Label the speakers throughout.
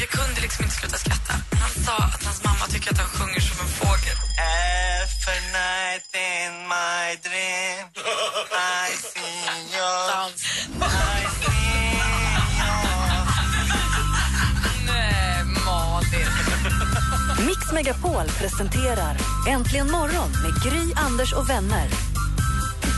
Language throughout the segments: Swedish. Speaker 1: Jag kunde liksom inte sluta skratta. Han sa att hans mamma tycker att han sjunger som en fågel.
Speaker 2: Every night in my dream, I see you.
Speaker 1: Nej, Malin.
Speaker 3: Mix Megapol presenterar Äntligen morgon med Gry, Anders och vänner.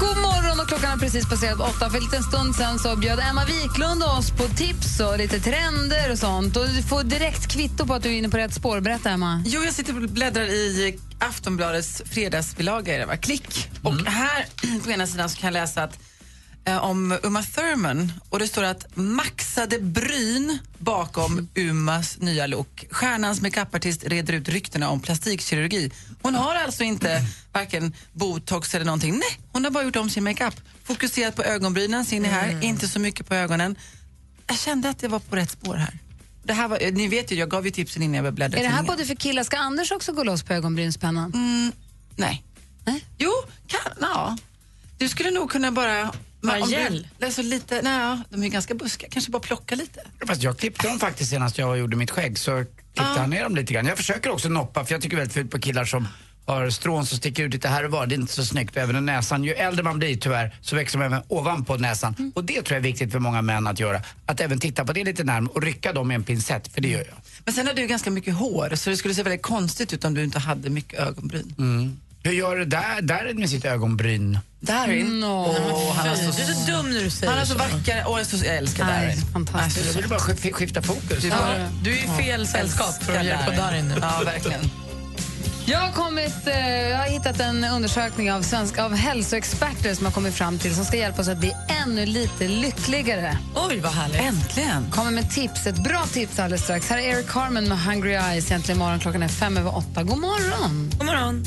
Speaker 4: God morgon och klockan har precis passerat åtta. För en liten stund sen så bjöd Emma Wiklund oss på tips och lite trender och sånt. Och du får direkt kvitto på att du är inne på rätt spår. Berätta, Emma.
Speaker 1: Jo, jag sitter och bläddrar i Aftonbladets fredagsbilaga, är det va? Klick.
Speaker 4: Mm.
Speaker 1: Och här på ena sidan så kan jag läsa att, eh, om Uma Thurman och det står att maxade bryn bakom Umas nya look. Stjärnans makeupartist reder ut ryktena om plastikkirurgi. Hon har alltså inte varken botox eller någonting. Nej, hon har bara gjort om sin makeup. Fokuserat på ögonbrynen, ser ni
Speaker 4: Mm.
Speaker 1: här, inte så mycket på ögonen. Jag kände att det var på rätt spår här. Det här var, eh, ni vet ju, jag gav ju tipsen innan jag började bläddra i
Speaker 4: Är det här
Speaker 1: tidningen.
Speaker 4: både för killar? Ska Anders också gå loss på ögonbrynspennan?
Speaker 1: Nej.
Speaker 4: Nej?
Speaker 1: Jo, kan, ja. Du skulle nog kunna bara... Bara gel? Alltså lite, nej, de är ju ganska buskiga. Kanske bara plocka lite.
Speaker 5: Fast jag klippte dem faktiskt senast jag gjorde mitt skägg så klippte han ner dem lite grann. Jag försöker också noppa för jag tycker väldigt fult på killar som har strån som sticker ut lite här och var. Det är inte så snyggt. Även i näsan. Ju äldre man blir tyvärr så växer de även ovanpå näsan.
Speaker 1: Mm.
Speaker 5: Och det tror jag är viktigt för många män att göra. Att även titta på det lite närmare och rycka dem med en pincett, för det gör jag.
Speaker 1: Men sen har du ganska mycket hår så det skulle se väldigt konstigt ut om du inte hade mycket ögonbryn.
Speaker 5: Mm. Hur gör du där, där med sitt ögonbryn?
Speaker 1: Darin. Åh, han är så, du är så dum när du säger Mm. Han är så vacker. Åh, jag, är så, jag älskar
Speaker 4: Nej,
Speaker 1: Darin.
Speaker 4: fantastiskt.
Speaker 5: Jag vill bara skif- skifta fokus.
Speaker 1: Du är i fel sällskap för att göra på Darin nu. Ja, verkligen.
Speaker 4: Jag har, kommit, eh, jag har hittat en undersökning av, svenska, av hälsoexperter som har kommit fram till som ska hjälpa oss att bli ännu lite lyckligare.
Speaker 1: Oj, vad härligt. Äntligen.
Speaker 4: kommer med tips, ett bra tips alldeles strax. Här är Eric Carmen med Hungry Eyes. Äntligen morgon, klockan är fem över åtta. God morgon!
Speaker 1: God morgon.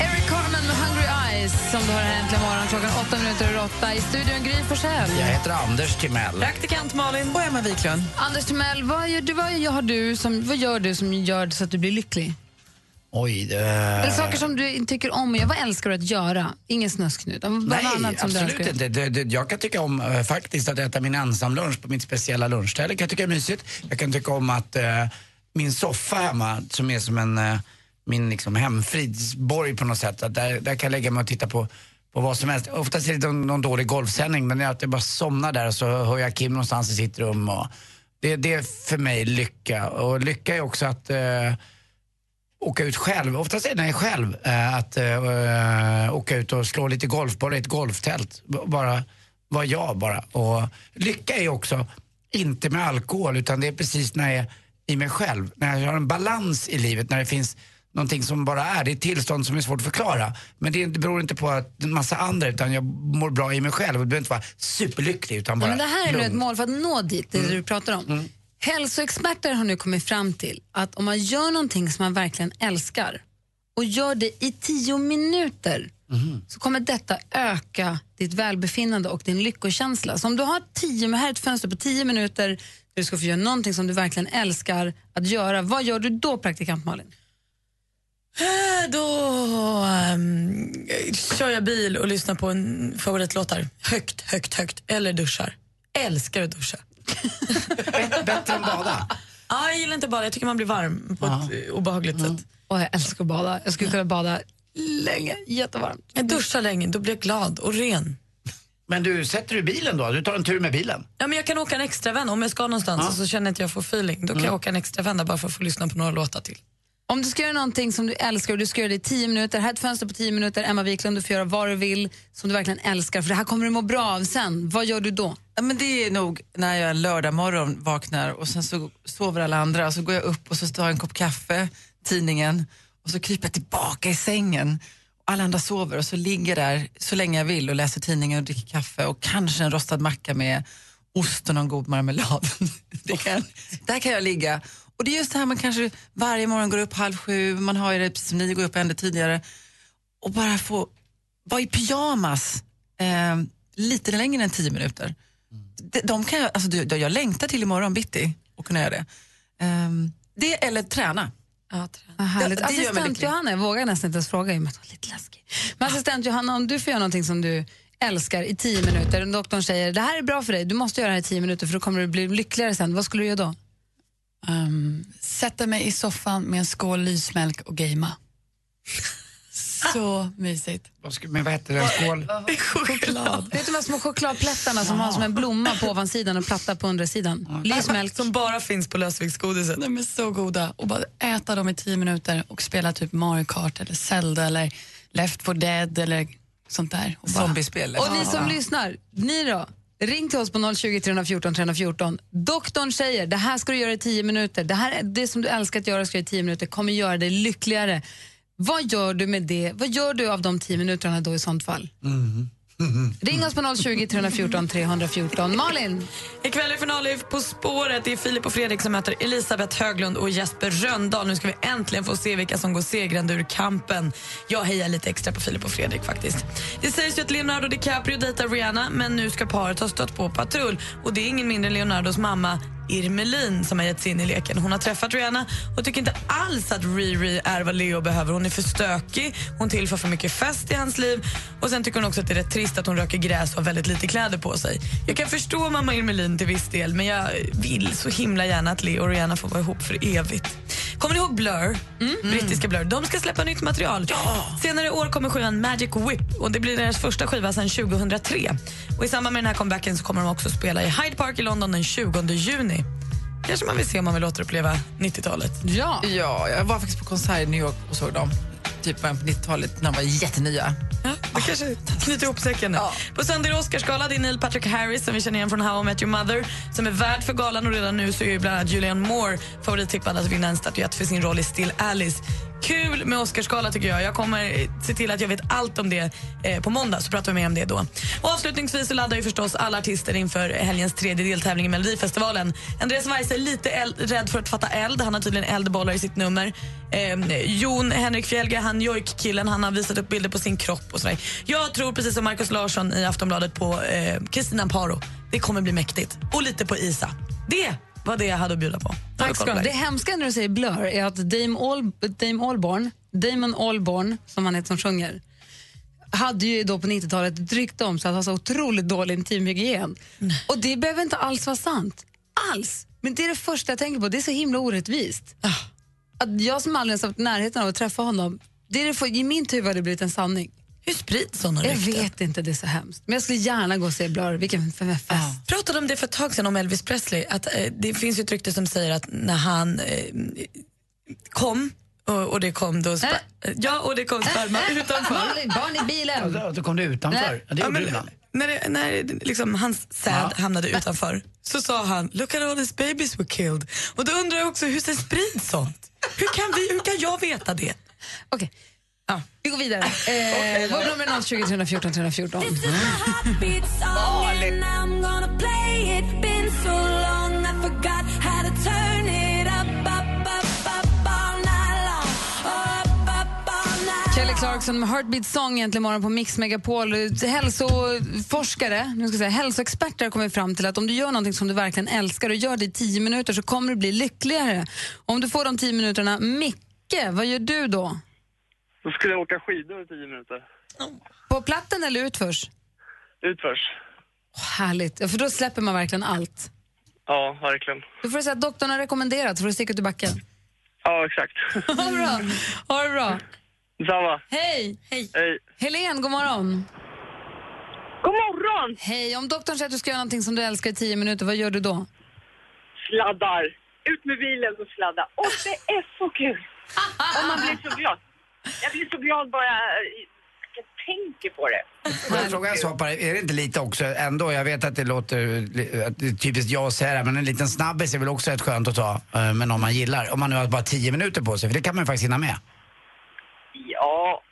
Speaker 4: Eric Carmen med Hungry Eyes som du har här äntligen morgon klockan åtta minuter över åtta. I studion Gry Forssell.
Speaker 5: Jag heter Anders Timell.
Speaker 1: Praktikant Malin. Och Emma Wiklund.
Speaker 4: Anders Timell, vad gör, du, vad, gör du som, vad gör du som gör så att du blir lycklig?
Speaker 5: Oj, det...
Speaker 4: Eller saker som du tycker om och gör. Vad älskar du att göra? Ingen snusk nu. utan Vad
Speaker 5: Nej,
Speaker 4: annat som du
Speaker 5: absolut
Speaker 4: älskar?
Speaker 5: inte. Det, det, jag kan tycka om eh, faktiskt att äta min ensamlunch på mitt speciella lunchställe. kan jag tycka är mysigt. Jag kan tycka om att eh, min soffa hemma, som är som en, eh, min liksom hemfridsborg på något sätt, att där, där kan jag lägga mig och titta på på vad som helst. Oftast är det någon, någon dålig golfsändning men det är att jag bara somnar där och så hör jag Kim någonstans i sitt rum. Och det, det är för mig lycka. Och lycka är också att eh, åka ut själv. Oftast är det när jag är själv. eh, att eh, åka ut och slå lite golfboll i ett golftält. B- Bara vara jag bara. Och lycka är också inte med alkohol utan det är precis när jag är i mig själv. När jag har en balans i livet. När det finns någonting som bara är. Det är ett tillstånd som är svårt att förklara. Men det är- det beror inte på att en massa andra utan jag mår bra i mig själv. Och det behöver inte vara superlycklig utan bara
Speaker 4: Men det här är nu
Speaker 5: lugn. Mm.
Speaker 4: ett mål för att nå dit, det du pratar om. Hälsoexperter har nu kommit fram till att om man gör någonting som man verkligen älskar och gör det i tio minuter så kommer detta öka ditt välbefinnande och din lyckokänsla. Så om du har tio, men här är ett fönster på tio minuter där du ska få göra någonting som du verkligen älskar att göra, vad gör du då praktikant Malin?
Speaker 6: Eh, Då ehm, kör jag bil och lyssnar på en favoritlåtar högt, högt, högt. Eller duschar. Älskar att duscha.
Speaker 5: Bättre- Bättre än bada.
Speaker 6: Ah, jag gillar inte bara. jag tycker man blir varm på ett eh, obehagligt sätt.
Speaker 4: Och jag älskar att bada, jag skulle kunna bada länge, jättevarmt.
Speaker 6: Jag duschar länge, då blir jag glad och ren.
Speaker 5: Men du, sätter du bilen då? Du tar en tur med bilen?
Speaker 6: Ja, men jag kan åka en extra vän om jag ska någonstans och så känner jag att jag får feeling. Då kan jag åka en extra vända bara för att få lyssna på några låtar till.
Speaker 4: Om du ska göra någonting som du älskar och du ska göra det i 10 minuter, här är ett fönster på 10 minuter, Emma Wiklund, du får göra vad du vill som du verkligen älskar, för det här kommer du må bra av sen. Vad gör du då?
Speaker 1: Ja, men det är nog när jag lördag morgon vaknar och sen så sover alla andra och så går jag upp och så tar jag en kopp kaffe, tidningen och så kryper jag tillbaka i sängen. alla andra sover och så ligger jag där så länge jag vill och läser tidningen och dricker kaffe och kanske en rostad macka med ost och någon god marmelad. Det kan, där kan jag ligga. Och det är just det här man kanske varje morgon går upp halv sju, man har ju det precis som ni går upp ännu tidigare och bara få vara i pyjamas eh, lite längre än tio minuter. De, de kan jag, alltså, jag, jag längtar till imorgon bitti och kunna göra det. Ehm, det eller träna.
Speaker 4: Ja, Vad härligt.
Speaker 1: Det- det gör mig
Speaker 4: assistent
Speaker 1: lycklig.
Speaker 4: Johanna, jag vågar nästan inte ens fråga i och med att hon är lite läskig. Men assistent Johanna, om du får göra någonting som du älskar i tio minuter, och doktorn säger det här är bra för dig, du måste göra det här i tio minuter för då kommer du bli lyckligare sen, vad skulle du göra då?
Speaker 7: Um, sätta mig i soffan med en skål lysmjölk och gamea. Så mysigt.
Speaker 5: Vad ska- Men vad hette den? Skål?
Speaker 7: Choklad.
Speaker 4: Vet du de här små chokladplättarna som har som en blomma på ovansidan och platta på undersidan? Lysmjölk.
Speaker 6: Som bara finns på lösviktsgodiset.
Speaker 7: De är så goda. Och bara äta dem i tio minuter och spela typ Mario Kart eller Zelda eller Left 4 Dead eller sånt där. Och bara,
Speaker 1: Zombiespel.
Speaker 4: Och ni som lyssnar, ni då? Ring till oss på 020 314 314. Doktorn säger det här ska du göra i 10 minuter. Det här är det som du älskar att göra ska du göra i 10 minuter kommer göra dig lyckligare. Vad gör du med det? Vad gör du av de 10 minuterna då i sånt fall?
Speaker 6: Mm-hmm.
Speaker 4: Ring oss på 020 314 314. Malin,
Speaker 6: Ikväll är final på spåret. Det är Filip och Fredrik som möter Elisabeth Höglund och Jesper Röndahl. Nu ska vi äntligen få se vilka som går segrande ur kampen. Jag hejar lite extra på Filip och Fredrik faktiskt. Det sägs ju att Leonardo DiCaprio dejtar Rihanna men nu ska paret ha stött på patrull och det är ingen mindre än Leonardos mamma Irmelin som har gett sig in i leken. Hon har träffat Rihanna och tycker inte alls att Riri är vad Leo behöver. Hon är för stökig, hon tillför för mycket fest i hans liv och sen tycker hon också att det är rätt trist att hon röker gräs och har väldigt lite kläder på sig. Jag kan förstå mamma Irmelin till viss del men jag vill så himla gärna att Leo och Rihanna får vara ihop för evigt. Kommer ni ihåg Blur? Mm. Brittiska Blur. De ska släppa nytt material. Senare i år kommer skivan Magic Whip och det blir deras första skiva sedan 2003. Och I samband med den här comebacken så kommer de också spela i Hyde Park i London den 20 juni. Kanske man vill se om man vill återuppleva 90-talet.
Speaker 4: ja.
Speaker 1: Ja, jag var faktiskt på konsert i New York och såg dem. Typ början på 90-talet när de var jättenya. Ah.
Speaker 6: Ja, det kanske knyter ihop säcken. nu. På söndag är det Oscarsgala. Det är Neil Patrick Harris som vi känner igen från How I Met Your Mother som är värd för galan och redan nu så är ju bland annat Julianne Moore favorittippad att vinna en statyett för sin roll i Still Alice. Kul med Oscarsgala tycker jag. Jag kommer se till att jag vet allt om det eh, på måndag så pratar vi mer om det då. Och avslutningsvis så laddar ju förstås alla artister inför helgens tredje deltävling i Melodifestivalen. Andreas Weise är lite el- rädd för att fatta eld. Han har tydligen eldbollar i sitt nummer. Eh, Jon Henrik Fjällgren, han jojk-killen, han har visat upp bilder på sin kropp och sådär. Jag tror precis som Markus Larsson i Aftonbladet på eh, Kristina Amparo. Det kommer bli mäktigt. Och lite på Isa. Det var det jag hade att bjuda på. Tack
Speaker 4: Ska de. Det hemska när du säger Blur är att Dame, All, Dame Allborn, Damon Albarn, som han heter som sjunger, hade ju då på 90-talet drygt om sig att ha så otroligt dålig intimhygien. Och det behöver inte alls vara sant. Alls! Men det är det första jag tänker på, det är så himla orättvist.
Speaker 6: Ah.
Speaker 4: Att jag som aldrig ens haft närheten av att träffa honom, det är det för, i min tur har det blivit en sanning.
Speaker 6: Hur sprids sådana
Speaker 4: Jag
Speaker 6: rykten?
Speaker 4: vet inte, det är så hemskt. Men jag skulle gärna gå och se Blur, vilken f- fest.
Speaker 6: pratade om det för ett tag sedan om Elvis Presley. Att, eh, det finns ju ett rykte som säger att när han eh, kom och, och det kom då spa-
Speaker 1: Äh?
Speaker 6: ja, och det kom sperma utanför.
Speaker 4: Malin, barn i bilen!
Speaker 5: Då, då kom du utanför.
Speaker 4: Nej.
Speaker 5: Ja, det
Speaker 6: Ja,
Speaker 5: gjorde
Speaker 6: men,
Speaker 5: du ibland.
Speaker 6: när det, när det, liksom, hans säd hamnade utanför så sa han “Look at all these babies were killed”. Och då undrar jag också hur sen sprids sånt? Hur kan, vi, hur kan jag veta det?
Speaker 4: Okej. Vi går vidare. Eh, Vårt nummer är 020 314 314. Kelly Clarkson med Heartbeat Song egentligen imorgon på Mix Megapol. Hälsoforskare, nu ska jag säga, hälsoexperter har kommit fram till att om du gör någonting som du verkligen älskar och gör det i tio minuter så kommer du bli lyckligare. Om du får de tio minuterna, Micke, vad gör du då?
Speaker 2: Då skulle jag åka skidor i tio minuter.
Speaker 4: På platten eller utförs?
Speaker 2: Utförs.
Speaker 4: Åh, härligt, Ja, för då släpper man verkligen allt.
Speaker 2: Ja, verkligen.
Speaker 4: Då får du säga att doktorn har rekommenderat, så får du sticka ut i backen.
Speaker 2: Ja, exakt.
Speaker 4: Ha det bra. Ha det bra.
Speaker 2: Detsamma.
Speaker 4: Hej! Hej.
Speaker 2: Hej.
Speaker 4: Helen, god morgon.
Speaker 8: God morgon!
Speaker 4: Hej, om doktorn säger att du ska göra någonting som du älskar i tio minuter, vad gör du då?
Speaker 8: Sladdar. Ut med bilen och sladda. Och det är så kul! Och man blir så glad. Jag blir så glad bara jag tänker på det.
Speaker 5: Får jag fråga en sak bara, är det inte lite också ändå, jag vet att det låter eh, att det är typiskt jag att säga det, här, men en liten snabbis är väl också rätt skönt att ta eh, med någon man gillar. Om man nu har bara tio minuter på sig, för det kan man ju faktiskt hinna med.
Speaker 8: Ja,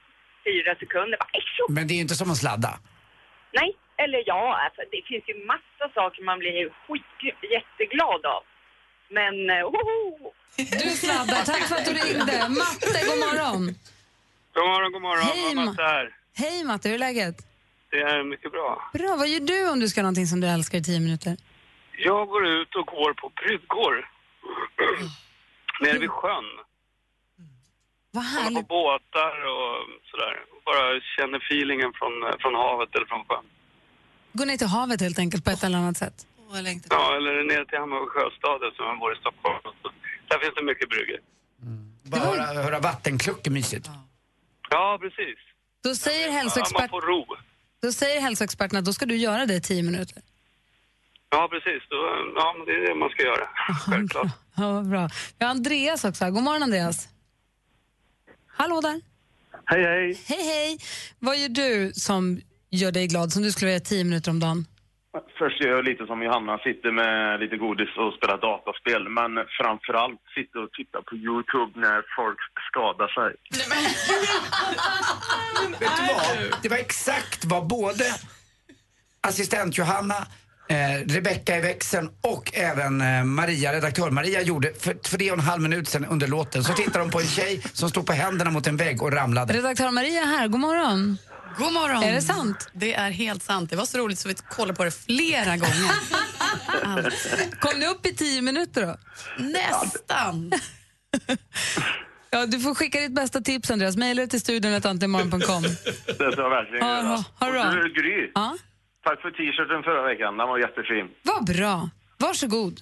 Speaker 8: fyra sekunder. Bara, "Ej, tjo!"
Speaker 5: Men det är ju inte som att sladda.
Speaker 8: Nej, eller ja, alltså, det finns ju massa saker man blir skit, jätteglad av. Men, eh, hoho!
Speaker 4: Du sladdar, tack för att du ringde. Matte, god morgon.
Speaker 2: God morgon, god morgon.
Speaker 4: Hej, Ma-
Speaker 2: Matte här.
Speaker 4: Hej Matte, hur är läget?
Speaker 2: Det är mycket bra.
Speaker 4: Bra, vad gör du om du ska göra någonting som du älskar i tio minuter?
Speaker 2: Jag går ut och går på bryggor. Nere vid sjön.
Speaker 4: Vad
Speaker 2: På
Speaker 4: härligt.
Speaker 2: båtar och sådär. Bara känner feelingen från, från havet eller från sjön.
Speaker 4: Gå ner till havet helt enkelt på ett eller annat sätt.
Speaker 2: Ja, eller ner till Hammarby sjöstad som man bor i Stockholm. Där finns det mycket bryggor.
Speaker 5: Bara höra, höra vattenkluck är mysigt.
Speaker 2: Ja, precis.
Speaker 4: Då säger
Speaker 2: Ja, man
Speaker 4: hälsoexpert,
Speaker 2: får ro.
Speaker 4: då säger hälsoexperterna att då ska du göra det i tio minuter.
Speaker 2: Ja, precis. Då, eh, ja, men det är det man ska göra. Självklart.
Speaker 4: Ja, vad bra. Vi har Andreas också här. God morgon Andreas. Hallå där.
Speaker 9: Hej, hej.
Speaker 4: Hej hej. Vad gör du som gör dig glad, som du skulle vilja göra tio minuter om dagen?
Speaker 9: Först gör jag lite som Johanna, sitter med lite godis och spelar dataspel. Men framförallt sitter och tittar på Youtube när folk skadar sig.
Speaker 5: Vet du vad? Det var exakt vad både assistent Johanna, eh, Rebecka i växeln och även eh, Maria, redaktör Maria gjorde för tre och en halv minut sedan under låten. Så tittar de på en tjej som stod på händerna mot en vägg och ramlade.
Speaker 4: Redaktör Maria här, god morgon.
Speaker 7: God morgon.
Speaker 4: Är det sant?
Speaker 7: Det är helt sant. Det var så roligt så vi kollade på det flera gånger.
Speaker 4: Kom ni upp i tio minuter då?
Speaker 7: Nästan.
Speaker 4: Ja, du får skicka ditt bästa tips Andreas. Mejla det till studion antimorgon.com.
Speaker 9: Det ska jag verkligen
Speaker 4: Ja,
Speaker 9: göra.
Speaker 4: ha- ha det bra.
Speaker 9: Och du, Gry.
Speaker 4: Ja.
Speaker 9: Tack för t-shirten förra veckan. Den var jättefin.
Speaker 4: Vad bra. Varsågod.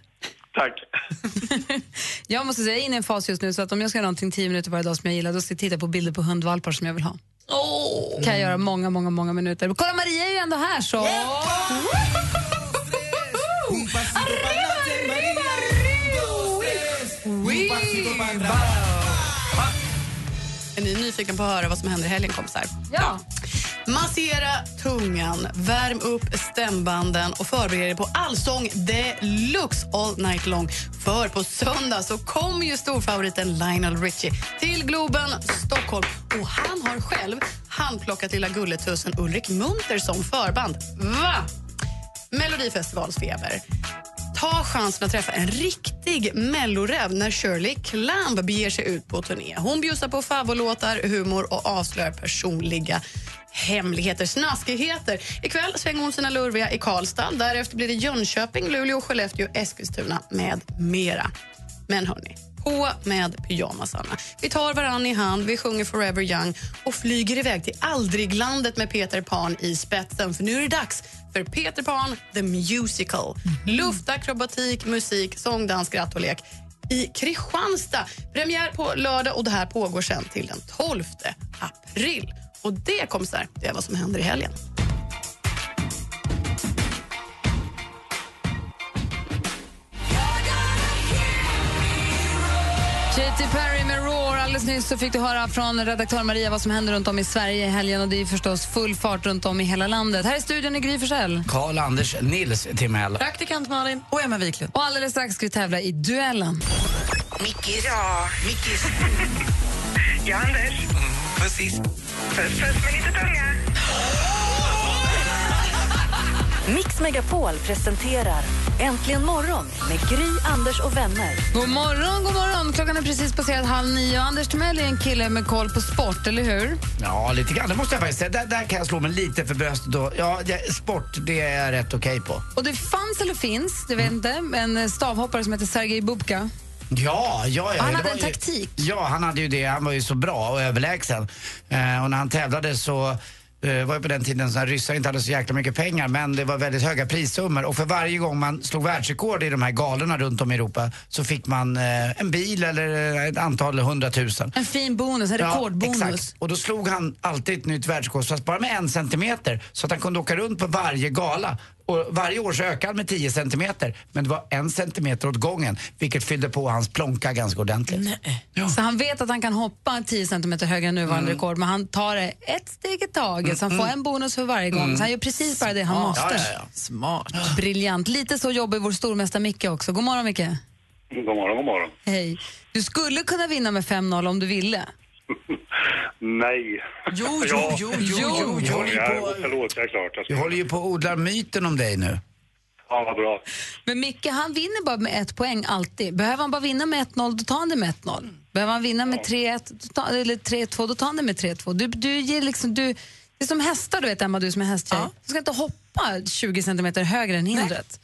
Speaker 9: Tack.
Speaker 4: Jag måste säga, jag är inne i en fas just nu så att om jag ska göra någonting tio minuter varje dag som jag gillar då ska jag titta på bilder på hundvalpar som jag vill ha. Kan jag göra många, många, många minuter. Kolla Maria är ju ändå här så!
Speaker 7: Är ni nyfiken på att höra vad som händer i helgen, kompisar?
Speaker 4: Ja.
Speaker 7: Massera tungan, värm upp stämbanden och förbered er på allsång deluxe all night long. För på söndag så kommer ju storfavoriten Lionel Richie till Globen, Stockholm. Och han har själv handplockat lilla gulletussen Ulrik Munter som förband. Va? Melodifestivalsfeber. Ta chansen att träffa en riktig melloräv när Shirley Clamp beger sig ut på turné. Hon bjussar på favoritlåtar, humor och avslöjar personliga hemligheter, snaskigheter. Ikväll svänger hon sina lurviga i Karlstad. Därefter blir det Jönköping, Luleå, Skellefteå, Eskilstuna med mera. Men hörni, på med pyjamasarna. Vi tar varann i hand, vi sjunger Forever Young och flyger iväg till Aldriglandet med Peter Pan i spetsen. För nu är det dags för Peter Pan the Musical.
Speaker 4: Mhm.
Speaker 7: Luftakrobatik, musik, sång, dans, skratt och lek i Kristianstad. Premiär på lördag och det här pågår sen till den 12 april. Och det, kompisar, det är vad som händer i helgen.
Speaker 4: Katy Perry med Roar. Alldeles nyss så fick du höra från redaktör Maria vad som händer runt om i Sverige i helgen och det är ju förstås full fart runt om i hela landet. Här i studion är Gry Forssell.
Speaker 5: Karl-Anders Nils Timell.
Speaker 1: Praktikant Malin. Och Emma Wiklund.
Speaker 4: Och alldeles strax ska vi tävla i duellen.
Speaker 10: Mickis. Ja, Mickis. ja, Anders. precis. Puss, puss med lite tunga.
Speaker 3: Mix Megapol presenterar Äntligen morgon med Gry, Anders och vänner.
Speaker 4: God morgon, god morgon. Klockan är precis passerat halv nio. Anders Timell är en kille med koll på sport, eller hur?
Speaker 5: Ja, lite grann. Det måste jag faktiskt säga. Där, där kan jag slå mig lite för bröstet. då. Ja, det, sport, det är jag rätt okej på.
Speaker 4: Och det fanns, eller finns, det vet jag inte, en eh, stavhoppare som heter Sergej Bubka.
Speaker 5: Ja, ja, ja.
Speaker 4: Han
Speaker 5: det
Speaker 4: hade
Speaker 5: var
Speaker 4: en
Speaker 5: ju,
Speaker 4: taktik.
Speaker 5: Ja, han hade ju det. Han var ju så bra och överlägsen. Eh, och när han tävlade så eh, var ju på den tiden så när ryssar inte hade så jäkla mycket pengar men det var väldigt höga prissummor och för varje gång man slog världsrekord i de här galorna runt om i Europa så fick man eh, en bil eller eh, ett antal hundratusen.
Speaker 4: En fin bonus, en
Speaker 5: Ja,
Speaker 4: rekordbonus.
Speaker 5: exakt. Och då slog han alltid ett nytt världsrekord, fast bara med en centimeter. Så att han kunde åka runt på varje gala. Och varje år så ökade han med 10 centimeter. Men det var en centimeter åt gången, vilket fyllde på hans plånka ganska ordentligt.
Speaker 4: Så han vet att han kan hoppa 10 centimeter högre än
Speaker 1: Mm.
Speaker 4: nuvarande rekord, men han tar det ett steg i taget, så han får en bonus för varje gång.
Speaker 1: Mm.
Speaker 4: Så han gör precis bara det han måste.
Speaker 1: Smart.
Speaker 4: Briljant. Lite så jobbar vår stormästare Micke också. God morgon Micke.
Speaker 11: God morgon, god morgon.
Speaker 4: Hej. Du skulle kunna vinna med 5-0 om du ville.
Speaker 9: Nej.
Speaker 1: Jo,
Speaker 5: jo, jo, jo, jo, jo.
Speaker 9: Ja, förlåt, jag är klart. Jag
Speaker 5: Du
Speaker 9: ska...
Speaker 5: håller ju på att odla myten om dig nu.
Speaker 9: Ja, vad bra.
Speaker 4: Men Micke, han vinner bara med ett poäng alltid. Behöver han bara vinna med 1-0, då tar han det med 1-0. Behöver han vinna med 3-1, då tar- eller 3-2, då tar han det med 3-2. Du, du ger liksom, du, det är som hästar, du vet Emma, du som är hästtjej. Du ska inte hoppa 20 centimeter högre än hindret.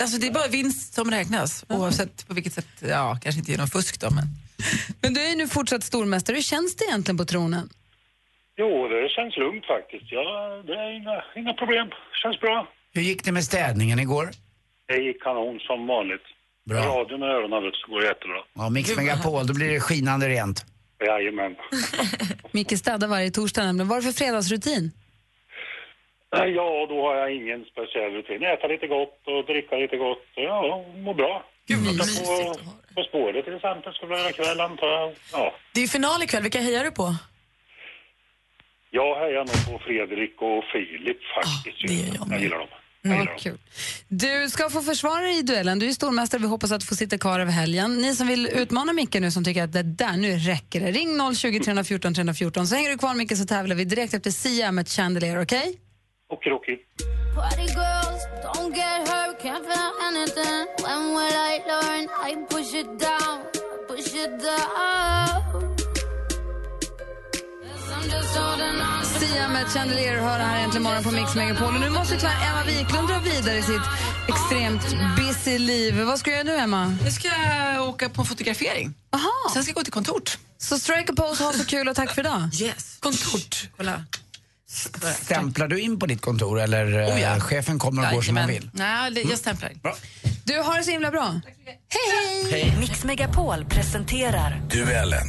Speaker 1: Alltså det är bara vinst som räknas, oavsett på vilket sätt. Ja, kanske inte genom fusk då, men...
Speaker 4: Men du är ju nu fortsatt stormästare. Hur känns det egentligen på tronen?
Speaker 9: Jo, det känns lugnt faktiskt. Ja, det är inga, inga problem. känns bra.
Speaker 5: Hur gick det med städningen igår?
Speaker 9: Det gick kanon som vanligt. Bra. Radion och öronen ut så går det jättebra.
Speaker 5: Ja, Mix Megapol, då blir det skinande rent.
Speaker 9: Jajamän.
Speaker 4: Micke städar varje torsdag nämligen. Vad är det för fredagsrutin?
Speaker 9: Nej, Ja, då har jag ingen speciell rutin. Äta lite gott och dricka lite gott. och Ja, må bra. Gud,
Speaker 6: vad
Speaker 9: på, på spåret till exempel skulle jag göra ikväll, antar jag. Ja.
Speaker 6: Det är ju final ikväll. Vilka hejar du på?
Speaker 9: Jag hejar nog på Fredrik och Filip faktiskt. jag, gillar dem.
Speaker 4: Mm. Ja, kul. Du ska få försvara dig i duellen. Du är stormästare. Vi hoppas att få sitta kvar över helgen. Ni som vill utmana Micke nu, som tycker att det där, nu räcker det. Ring 020 314 314. Så hänger du kvar Micke så tävlar vi direkt efter Sia med Chandelier, okej?
Speaker 9: Okidoki.
Speaker 11: Party girls, don't get hurt, can't feel anything. When will I learn? I push it down, push it down.
Speaker 4: Sia med Chandelier hör här äntligen morgon på Mix Megapol. Och nu måste tyvärr Emma Wiklund dra vidare i sitt extremt busy liv. Vad ska du göra nu, Emma?
Speaker 1: Nu ska jag åka på en fotografering.
Speaker 4: Aha.
Speaker 1: Sen ska jag gå till kontort.
Speaker 4: Så strike a pose, ha så kul och tack för idag.
Speaker 1: Yes. Kontort. Kolla.
Speaker 5: Stämplar du in på ditt kontor eller eh,
Speaker 1: Oh, ja.
Speaker 5: chefen kommer och går som han vill?
Speaker 1: Nej, det- jag stämplar.
Speaker 4: Du har det så himla bra. Hej,
Speaker 3: hej! Mix Megapol presenterar
Speaker 12: Duellen.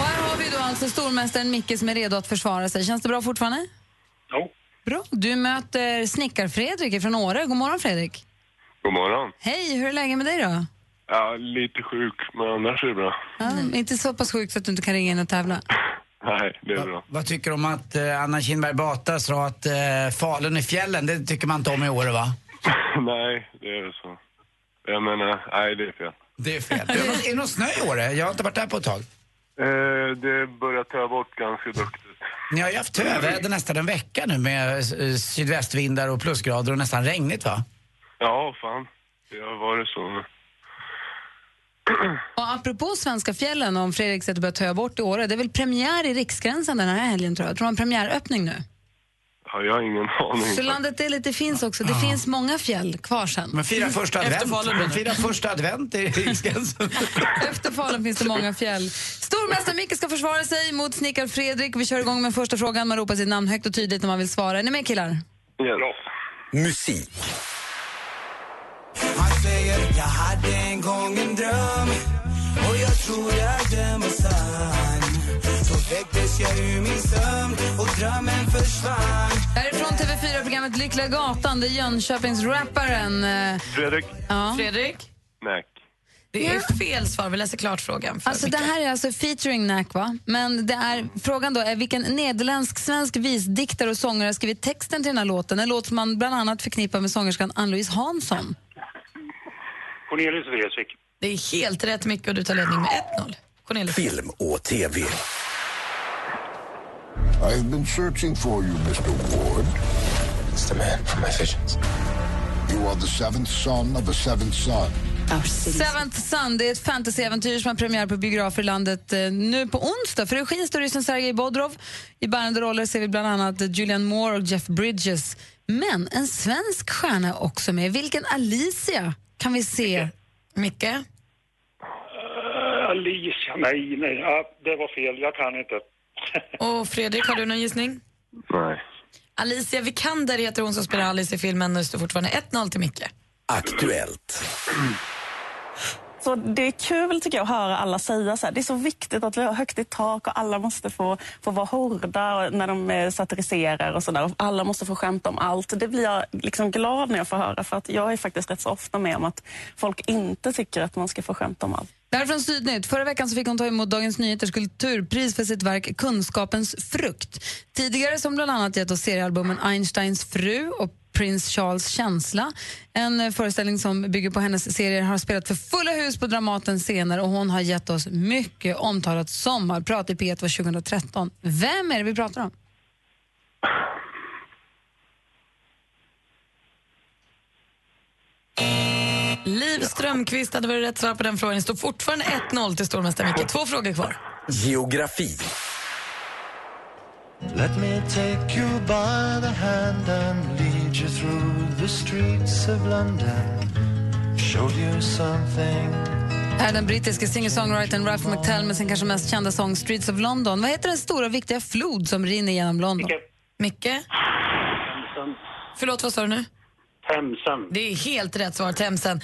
Speaker 4: Och här har vi då alltså stormästaren Micke som är redo att försvara sig. Känns det bra fortfarande?
Speaker 9: Ja.
Speaker 4: Bra. Du möter snickar-Fredrik från Åre. God morgon, Fredrik.
Speaker 13: God morgon.
Speaker 4: Hej, hur är läget med dig då?
Speaker 13: Ja, lite sjuk, men annars är det bra.
Speaker 4: Ja, Inte så pass sjukt så att du inte kan ringa in och tävla.
Speaker 13: Nej, det är bra.
Speaker 5: Vad tycker du om att eh, Anna Kinberg Batra sa att eh, Falun i fjällen, det tycker man inte om i år va?
Speaker 13: nej, det är så. Jag menar, nej, det är fel.
Speaker 5: Det är fel. är det någon snö i år? Jag har inte varit där på ett tag.
Speaker 13: Eh, det börjar ta bort ganska duktigt.
Speaker 5: Ni har ju haft töväder nästan en vecka nu med eh, sydvästvindar och plusgrader och nästan regnigt va?
Speaker 13: Ja, fan. Det har varit så.
Speaker 4: Och apropå svenska fjällen, om Fredrik sätter börjar töa bort i Åre, det är väl premiär i Riksgränsen den här helgen tror jag. Tror de har premiäröppning nu?
Speaker 13: Ja, jag har ingen aning.
Speaker 4: Så landet är lite finns också. Det finns många fjäll kvar sen.
Speaker 5: Men fira första advent. Men fira första advent i Riksgränsen.
Speaker 4: Efter Falun finns det många fjäll. Stormästare Micke ska försvara sig mot snickar Fredrik. Vi kör igång med första frågan. Man ropar sitt namn högt och tydligt när man vill svara. Är ni med killar?
Speaker 13: Yes.
Speaker 12: Musik.
Speaker 10: Han säger jag hade en gång en dröm och jag tror att den var sann. Så väcktes jag ur min sömn och drömmen försvann.
Speaker 4: Det här är från TV4-programmet Lyckliga gatan. Det är Jönköpingsrapparen. eh,
Speaker 13: Fredrik?
Speaker 4: Ja.
Speaker 6: Fredrik?
Speaker 13: Nej.
Speaker 6: Det är fel svar. Vi läser klart frågan. För
Speaker 4: Alltså
Speaker 6: Micke.
Speaker 4: det här är alltså featuring Nack va? Men det är, frågan då är vilken nederländsk-svensk visdiktare och sångare har skrivit texten till den här låten? En låt som man bland annat förknippar med sångerskan Ann-Louise Hansson.
Speaker 9: Cornelius Vreeswijk.
Speaker 6: Det är helt rätt Micke och du tar ledning med 1-0. Cornelius.
Speaker 12: Film och TV.
Speaker 14: I've been searching for you, Mr. Ward. It's the man from my visions. You are the seventh son of a seventh son.
Speaker 4: Seventh Son, det är ett fantasyäventyr som har premiär på biografer i landet eh, nu på onsdag. För regin står ryssen Sergej Bodrov. I bärande roller ser vi bland annat Julian Moore och Jeff Bridges. Men en svensk stjärna är också med. Vilken Alicia kan vi se?
Speaker 6: Micke?
Speaker 2: Äh,
Speaker 9: Eh, Alicia, nej, nej. Ja, det var fel. Jag kan inte.
Speaker 6: Och Fredrik, har du någon gissning?
Speaker 13: Nej.
Speaker 6: Alicia Vikander heter hon som spelar Alice i filmen och det står fortfarande 1-0 till Micke.
Speaker 12: Aktuellt.
Speaker 15: Så det är kul tycker jag att höra alla säga så här. Det är så viktigt att vi har högt i tak och alla måste få, få vara hårda och- när de eh, satiriserar och sådär. Alla måste få skämta om allt. Det blir jag liksom glad när jag får höra för att jag är faktiskt rätt så ofta med om att folk inte tycker att man ska få skämta om allt.
Speaker 4: Det här är från Sydnytt. Förra veckan så fick hon ta emot Dagens Nyheters kulturpris för sitt verk Kunskapens frukt. Tidigare som bland annat gett oss seriealbumen Einsteins fru och prins Charles känsla. En eh, föreställning som bygger på hennes serier har spelat för fulla hus på Dramatens scener och hon har gett oss mycket omtalat sommarprat i P1 var 2013. Vem är det vi pratar om?
Speaker 6: Liv Strömqvist hade varit rätt svar på den frågan. Det står fortfarande 1-0 till stormästaren Micke. Två frågor kvar.
Speaker 12: Geografi.
Speaker 10: Let me take you by the hand and lead you through the streets of London. Show you something.
Speaker 4: Här är den brittiske singer-songwritern Ralph McTell med sin kanske mest kända sång Streets of London. Vad heter den stora viktiga flod som rinner genom London?
Speaker 6: Micke? Förlåt, vad sa du nu?
Speaker 2: Themsen.
Speaker 6: Det är helt rätt svar, Themsen.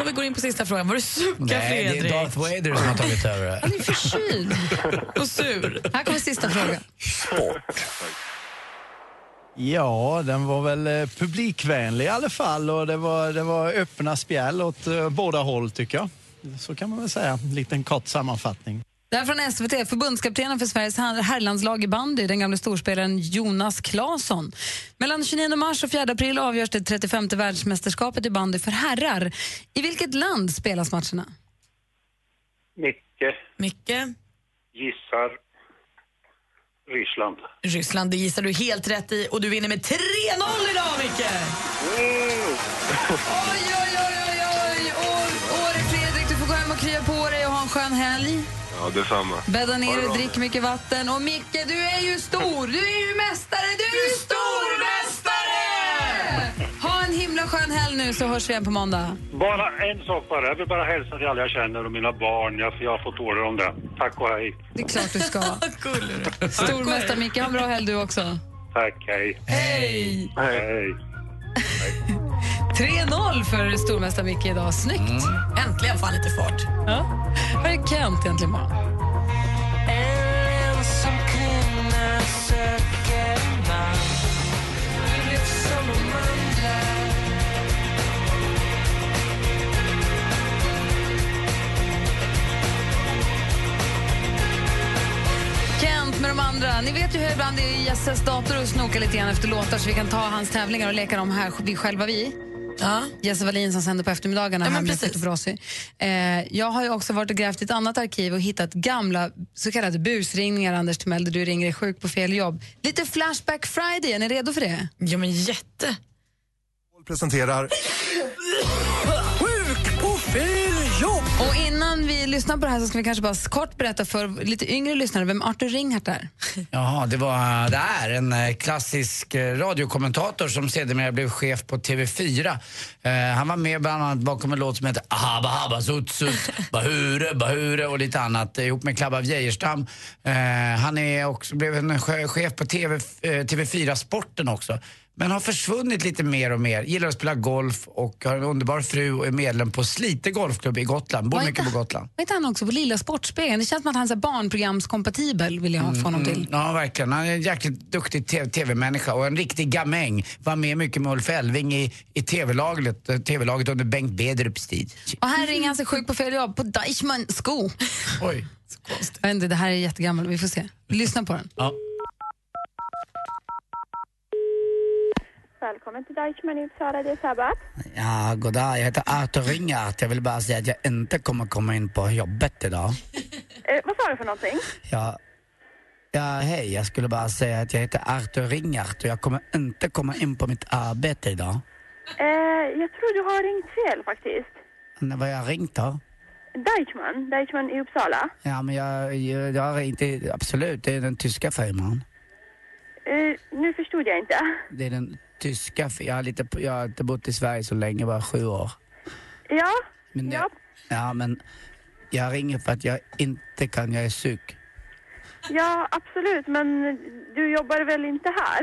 Speaker 6: Och vi går in på sista frågan. Var du suckar,
Speaker 5: Nej, det
Speaker 6: Fredrik?
Speaker 5: är Darth Vader som har tagit över det här.
Speaker 4: Han är förkyld
Speaker 6: och sur.
Speaker 4: Här kommer sista frågan.
Speaker 16: Ja, den var väl eh, publikvänlig i alla fall och det var, det var öppna spjäll åt eh, båda håll tycker jag. Så kan man väl säga, en liten kort sammanfattning.
Speaker 4: Det här är från SVT. Förbundskaptenen för Sveriges herr- herrlandslag i bandy, den gamle storspelaren Jonas Claesson. Mellan 29 mars och 4 april avgörs det 35 världsmästerskapet i bandy för herrar. I vilket land spelas matcherna?
Speaker 2: Micke
Speaker 6: Micke?
Speaker 2: gissar Ryssland.
Speaker 6: Ryssland, det gissar du helt rätt i. Och du vinner med 3-0 idag, Micke!
Speaker 4: Oj, oj, oj, oj, oj! Å- Åre, Fredrik, du får gå hem och krya på dig och ha en skön helg.
Speaker 13: Ja, detsamma.
Speaker 4: Bädda
Speaker 13: Ha
Speaker 4: ner
Speaker 13: det
Speaker 4: dig,
Speaker 13: bra.
Speaker 4: drick mycket vatten. Och Micke, du är ju stor! Du är ju mästare! Du är ju stormästare! Ha en himla skön helg nu så hörs vi igen på måndag.
Speaker 2: Bara en sak bara. Jag vill bara hälsa till alla jag känner och mina barn. Jag, jag har fått order om det. Tack och hej.
Speaker 4: Det är klart du ska. Stormästare Micke, ha en bra helg du också.
Speaker 2: Tack, hej.
Speaker 4: Hej!
Speaker 2: Hej.
Speaker 4: 3-0 för stormästare Micke idag. Snyggt!
Speaker 6: Äntligen får han lite fart.
Speaker 4: Mm. Ja. Här är Kent egentligen imorgon. Kent med de andra. Ni vet ju hur jag ibland är i Jesses dator och snokar lite grann efter låtar så vi kan ta hans tävlingar och leka dem här vi själva vi.
Speaker 6: Ja.
Speaker 4: Jesse Wallin som sänder på eftermiddagarna här med Peter Brossi. Eh, jag har ju också varit och grävt i ett annat arkiv och hittat gamla så kallade busringningar, Anders Timell, där du ringer dig sjuk på fel jobb. Lite Flashback Friday, är ni redo för det?
Speaker 6: Ja, men jätte.
Speaker 17: Presenterar
Speaker 4: Sjuk på fel jobb! Och innan vi lyssnar på det här så ska vi kanske bara kort berätta för lite yngre lyssnare vem Arthur Ringhart är.
Speaker 5: Jaha, det var det är en eh, klassisk eh, radiokommentator som sedermera blev chef på TV4. Eh, han var med bland annat bakom en låt som heter Ahaba Haba Sut Sut Bahure Bahure och lite annat eh, ihop med Klabba Wiejerstam. Eh, han är också, blev en che- chef på TV, eh, TV4 Sporten också. Men har försvunnit lite mer och mer. Gillar att spela golf och har en underbar fru och är medlem på Slite Golfklubb i Gotland. Bor
Speaker 4: Vad
Speaker 5: mycket på Gotland.
Speaker 4: Var inte han också på Lilla Sportspegeln? Det känns som att han är så här barnprogramskompatibel, vill jag få honom till.
Speaker 5: Mm, ja, verkligen. Han är en jäkligt duktig te- tv-människa och en riktig gamäng. Var med mycket med Ulf Elving i, i tv-laget, eh, TV-laget under Bengt Bedrups tid.
Speaker 4: Och här ringer han sig sjuk på fel jobb, på Deichmann Sko.
Speaker 5: Oj,
Speaker 4: så konstigt. Jag vet inte, det här är jättegammalt, vi får se. Lyssna på den.
Speaker 5: Ja.
Speaker 18: Välkommen till Deutsche Minute, Sara. Det är Sabat.
Speaker 5: Ja, goddag. Jag heter Arthur Ringart. Jag vill bara säga att jag inte kommer komma in på jobbet idag.
Speaker 18: Eh, vad sa du för någonting?
Speaker 5: Ja, ja, hej. Jag skulle bara säga att jag heter Arthur Ringart och jag kommer inte komma in på mitt arbete idag.
Speaker 18: Eh, jag tror du har ringt fel faktiskt.
Speaker 5: Men Vad har jag ringt då?
Speaker 18: Deutschman, Deutschman i Uppsala.
Speaker 5: Ja, men jag, jag, jag har inte... Absolut, det är den tyska firman.
Speaker 18: Eh, nu förstod jag inte.
Speaker 5: Det är den tyska, för jag har, lite, jag har inte bott i Sverige så länge, bara sju år.
Speaker 18: Ja,
Speaker 5: Men det, ja. men jag ringer för att jag inte kan, jag är sjuk.
Speaker 18: ja absolut, men du jobbar väl inte här?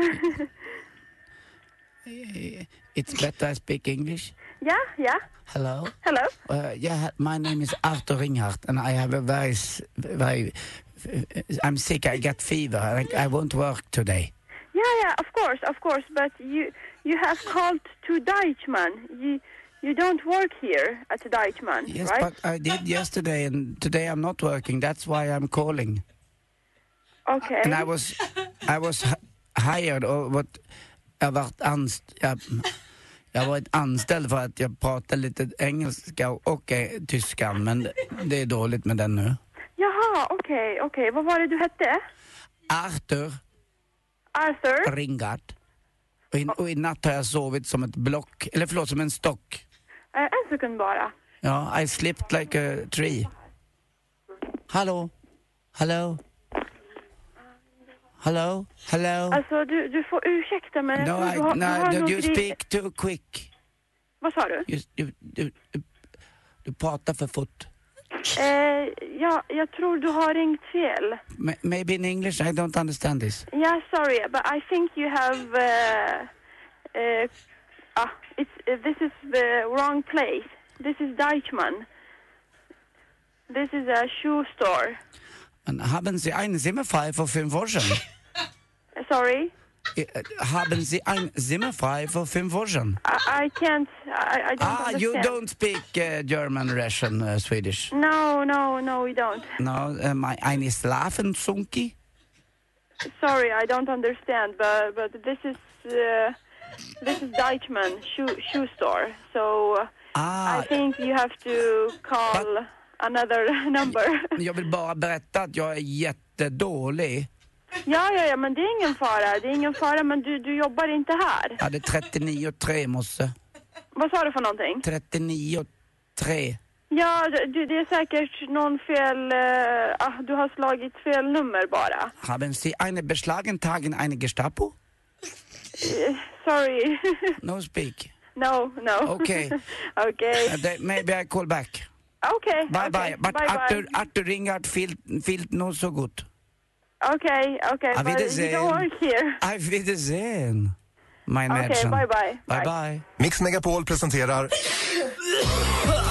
Speaker 5: It's better I speak English.
Speaker 18: ja, ja.
Speaker 5: Hello?
Speaker 18: Hello?
Speaker 5: Uh, yeah, my name is Arthur Ringhardt and I have a very, s- very, I'm sick, I got fever, I, I won't work today.
Speaker 18: Yeah, yeah, of course, of course. But you you have called to Deutschman. You you don't work here at Deutschman,
Speaker 5: Yes,
Speaker 18: right?
Speaker 5: but I did yesterday and today I'm not working, that's why I'm calling.
Speaker 18: okay.
Speaker 5: uh, And I was, I was h- hired or what? jag varit anst... Jag, jag har varit anställd för att jag pratar lite engelska och eh, tyska, men det är dåligt med den nu.
Speaker 18: Jaha, okej, okej. Vad var det du hette?
Speaker 5: Arthur
Speaker 18: Arthur?
Speaker 5: Ringard. Och i, och i natt har jag sovit som ett block, eller förlåt, som en stock.
Speaker 18: Eh, en sekund bara.
Speaker 5: Ja, I slipped like a tree.
Speaker 18: Eh,
Speaker 5: Hallå? Hallå? Hallå? Hallå?
Speaker 18: Alltså, du, du får ursäkta men jag
Speaker 5: No,
Speaker 18: tror
Speaker 5: I,
Speaker 18: du har, du har
Speaker 5: no,
Speaker 18: nog
Speaker 5: you
Speaker 18: gri-
Speaker 5: speak too quick.
Speaker 18: Vad sa du?
Speaker 5: You, du, du, du, du pratar för fort.
Speaker 18: Eh, ja, jag tror du har ringt fel.
Speaker 5: Ma- Maybe in English I don't understand this.
Speaker 18: Yeah, sorry, but I think you have... Uh, uh, ah, it's, uh, this is the wrong place. This is Deichmann. This is a shoe store.
Speaker 5: Men haben Sie einen Zimmerfrei för fem år sedan?
Speaker 18: Uh, Sorry,
Speaker 5: Eh, haben Sie einen Zimmerfrei för fem år sedan?
Speaker 18: I, I can't... I, I don't
Speaker 5: Ah,
Speaker 18: understand.
Speaker 5: you don't speak eh, German, Russian, eh, Swedish.
Speaker 18: No, no, no, we don't.
Speaker 5: No, eh, my, eine Schlafenzunki?
Speaker 18: Sorry, I don't understand, but but this is uh, this is Deichmann shoe shoe store. So uh,
Speaker 5: Ah.
Speaker 18: I think you have to call another number.
Speaker 5: Jag vill bara berätta att jag är jättedålig.
Speaker 18: ja, ja, ja, men det är ingen fara. Det är ingen fara, men du du jobbar inte här.
Speaker 5: Jag hade 39,3 i morse.
Speaker 18: Vad sa du för någonting?
Speaker 5: 39,3.
Speaker 18: Ja, du, det är säkert någon fel. eh, ah, du har slagit fel nummer bara.
Speaker 5: Haben Sie eine beschlagen tagen eine Gestapo?
Speaker 18: Eh, Sorry.
Speaker 5: No speak.
Speaker 18: no, no.
Speaker 5: Okej.
Speaker 18: Okej.
Speaker 5: Eh, they- Maybe I call back.
Speaker 18: Okej.
Speaker 5: Bye
Speaker 18: okej.
Speaker 5: bye. But
Speaker 18: Bye, bye.
Speaker 5: Arthur, Arthur Ringard filt, filt no so good.
Speaker 18: Okej, okej.
Speaker 5: Auf
Speaker 18: but You
Speaker 5: Wiedersehen.
Speaker 18: don't work here.
Speaker 5: Auf Wiedersehen. Mein
Speaker 18: Okej,
Speaker 17: Mädchen.
Speaker 18: bye bye.
Speaker 5: Bye bye.
Speaker 17: Mix Megapol presenterar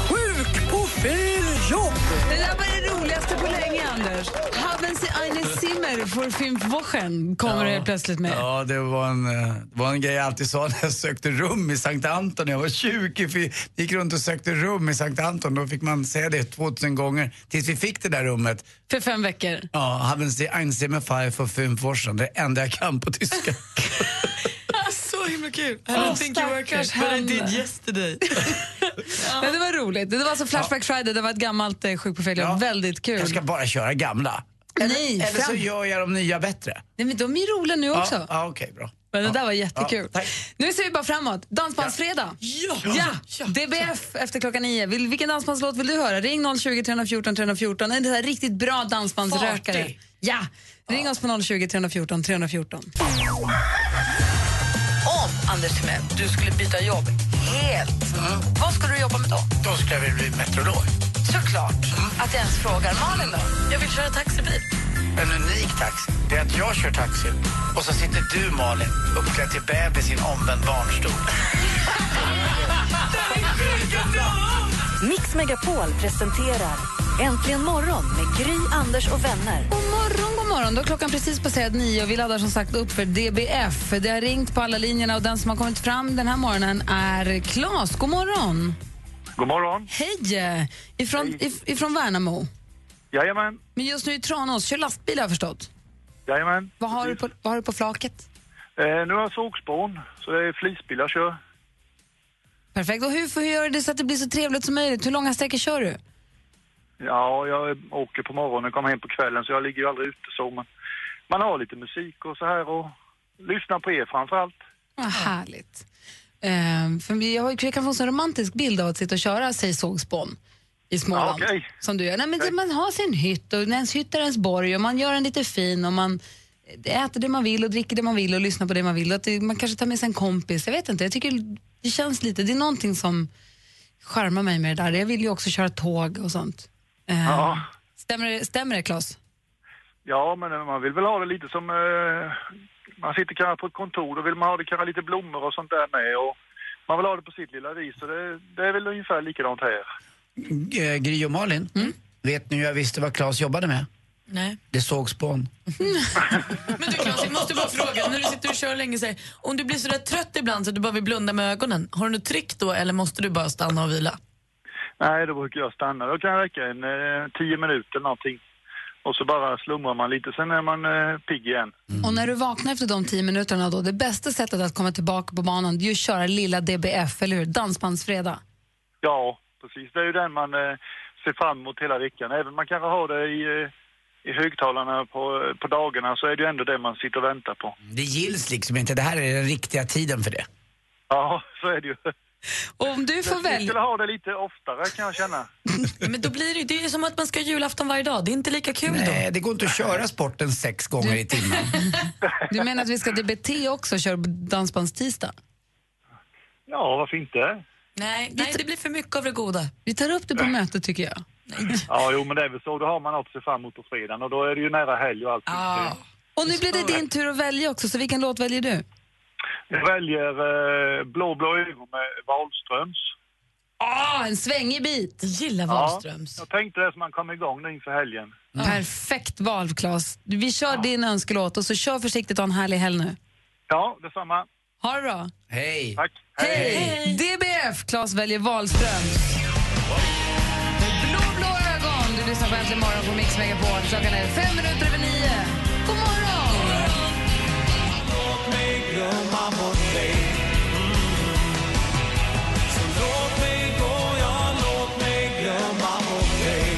Speaker 1: Sjuk på fel jobb! Det där var det roligaste på länge, Anders.
Speaker 4: Haben Sie eine Zimmer für fünf Wochen? Kommer det plötsligt med.
Speaker 5: Ja, det var, en, eh, det var en grej jag alltid sa när jag sökte rum i Sankt Anton. när Jag var 20, för jag gick runt och sökte rum i Sankt Anton. Då fick man säga det 2000 gånger tills vi fick det där rummet.
Speaker 4: För fem veckor.
Speaker 5: Ja, haben Sie ein Zimmer frei för fem år sedan. Det enda jag kan på tyska.
Speaker 1: Så himla kul. I
Speaker 4: Åh,
Speaker 1: don't think you work
Speaker 4: stackars
Speaker 1: it, but I
Speaker 4: han.
Speaker 1: did yesterday.
Speaker 4: Men det var roligt. Det var alltså Flashback Friday, det var ett gammalt eh, Sjuk på fel jobb. Väldigt kul.
Speaker 5: Jag ska bara köra gamla.
Speaker 4: Nej,
Speaker 5: Eller så
Speaker 4: fram-
Speaker 5: gör jag de nya bättre.
Speaker 4: Nej, men de är roliga nu också.
Speaker 5: Ja, ja, okej, bra.
Speaker 4: Men det där var
Speaker 5: Ja,
Speaker 4: jättekul.
Speaker 5: tack.
Speaker 4: nu ser vi bara framåt. Dansbandsfredag. Ja. DBF efter klockan nio. Vill, vilken dansbandslåt vill du höra? Ring 020 314 314. En sån här riktigt bra dansbandsrökare.
Speaker 6: Party.
Speaker 4: Ja. Ring oss på 020 314 314.
Speaker 1: Om, Anders Timell, du skulle byta jobb helt, vad skulle du jobba med då?
Speaker 5: Då ska jag väl bli meteorolog. Mm.
Speaker 1: Såklart att jag ens frågar. Malin då? Jag vill köra taxibil.
Speaker 5: En unik taxi, det är att jag kör taxi och så sitter du, Malin, uppklädd till bebis i en omvänd barnstol.
Speaker 3: Mix Megapol presenterar Äntligen morgon med Gry, Anders och vänner.
Speaker 4: God morgon, god morgon. Då har klockan precis passerat nio och vi laddar som sagt upp för DBF. Det har ringt på alla linjerna och den som har kommit fram den här morgonen är Klas. God morgon.
Speaker 19: God morgon.
Speaker 4: Hej! Ifrån, if, ifrån Värnamo.
Speaker 19: Jajamän.
Speaker 4: Men just nu i Tranås, kör lastbil har jag förstått.
Speaker 19: Jajamän.
Speaker 4: Vad har, du på, vad har du på flaket?
Speaker 19: Eh, nu har jag sågspån, så det är flisbilar jag kör.
Speaker 4: Perfekt. Och hur, hur gör du det så att det blir så trevligt som möjligt? Hur långa sträckor kör du?
Speaker 19: Ja, jag åker på morgonen och kommer hem på kvällen, så jag ligger ju aldrig ute så. Men man har lite musik och så här och lyssnar på er framför allt.
Speaker 4: Vad härligt. Ehm, för vi har, vi kan få en sån romantisk bild av att sitta och köra, säg sågspån i Småland.
Speaker 19: Ja, okej.
Speaker 4: Som du gör. Nej, men det, man har sin hytt och ens hytt är ens borg och man gör den lite fin och man äter det man vill och dricker det man vill och lyssnar på det man vill. Och Att det, man kanske tar med sig en kompis. Jag vet inte, jag tycker det känns lite, det är någonting som charmar mig med det där. Jag vill ju också köra tåg och sånt. Ehm,
Speaker 19: Ja.
Speaker 4: Stämmer det, stämmer det Claes?
Speaker 19: Ja, men eh, man vill väl ha det lite som... Eh, man sitter kanske på ett kontor, då vill man ha det kanske lite blommor och sånt där med. Och man vill ha det på sitt lilla vis, så det, det är väl ungefär likadant här.
Speaker 5: Eh, Gry och Malin,
Speaker 4: Mm.
Speaker 5: vet ni hur jag visste vad Claes jobbade med?
Speaker 6: Nej.
Speaker 5: Det såg spån.
Speaker 6: Men du Claes, jag måste bara fråga, när du sitter och kör länge, säger, om du blir så där trött ibland så att du bara vill blunda med ögonen, har du något trick då eller måste du bara stanna och vila?
Speaker 19: Nej, då brukar jag stanna. Då kan jag räcka en eh, tio minuter eller någonting. Och så bara slumrar man lite, sen är man eh, pigg igen.
Speaker 4: Och när du vaknar efter de tio minuterna då, det bästa sättet att komma tillbaka på banan det är ju att köra lilla DBF, eller hur? Dansbandsfredag.
Speaker 19: Ja, precis. Det är ju den man eh, ser fram emot hela veckan. Även man kanske har det i, eh, i högtalarna på, på dagarna så är det ju ändå det man sitter och väntar på.
Speaker 5: Det gills liksom inte. Det här är den riktiga tiden för det.
Speaker 19: Ja, så är det ju.
Speaker 4: Om du
Speaker 6: får
Speaker 19: Jag skulle ha det lite oftare kan jag känna.
Speaker 6: Nej, Mm, Men då blir det, ju- det är ju som att man ska ha julafton varje dag. Det är inte lika kul
Speaker 5: Nej,
Speaker 6: då.
Speaker 5: det går inte att köra sporten sex gånger i timmen.
Speaker 4: Du menar att vi ska DBT också och köra dansbandstisdag?
Speaker 19: Ja, varför inte?
Speaker 6: Nej, nej, det blir för mycket av det goda.
Speaker 4: Vi tar upp det på mötet tycker jag.
Speaker 19: Ja, jo men det är väl så. Då har man något att se fram emot på fredagen och då är det ju nära helg och allt.
Speaker 4: Ah. Och nu blir det din tur att välja också, så vilken låt väljer du?
Speaker 19: Jag väljer eh, Blå blå ögon med Wahlströms.
Speaker 4: Ah, en svängig bit! Gillar
Speaker 19: Ja, jag tänkte det som man kom igång nu inför helgen. Mm.
Speaker 4: Perfekt val, Claes. Vi kör din önskelåt och så kör försiktigt och ha en härlig helg nu.
Speaker 19: Ja, detsamma.
Speaker 4: Ha det bra.
Speaker 5: Hej!
Speaker 19: Tack.
Speaker 4: Hej! DBF, Claes väljer Wahlström. Med blå, blå ögon. Du lyssnar på Äntligen morgon på Mix Megapol. Klockan är fem minuter över nio. God morgon!
Speaker 10: Låt mig glömma bort dig Så låt mig gå, ja låt mig glömma bort dig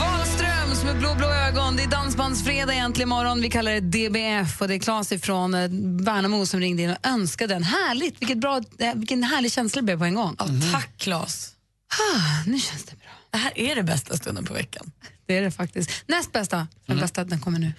Speaker 4: Wahlströms med blå, blå ögon. Det är Dansbandsfredag egentligen imorgon. Vi kallar det DBF och det är Claes ifrån eh, Värnamo som ringde in och önskade den. Härligt! Vilket bra, eh, vilken härlig känsla det blev på en gång. Mm.
Speaker 6: Tack, Claes.
Speaker 4: Ah, nu känns det bra.
Speaker 6: Det här är det bästa stunden på veckan. Mm.
Speaker 4: Det är det faktiskt. Näst bästa. Den bästa, den kommer nu.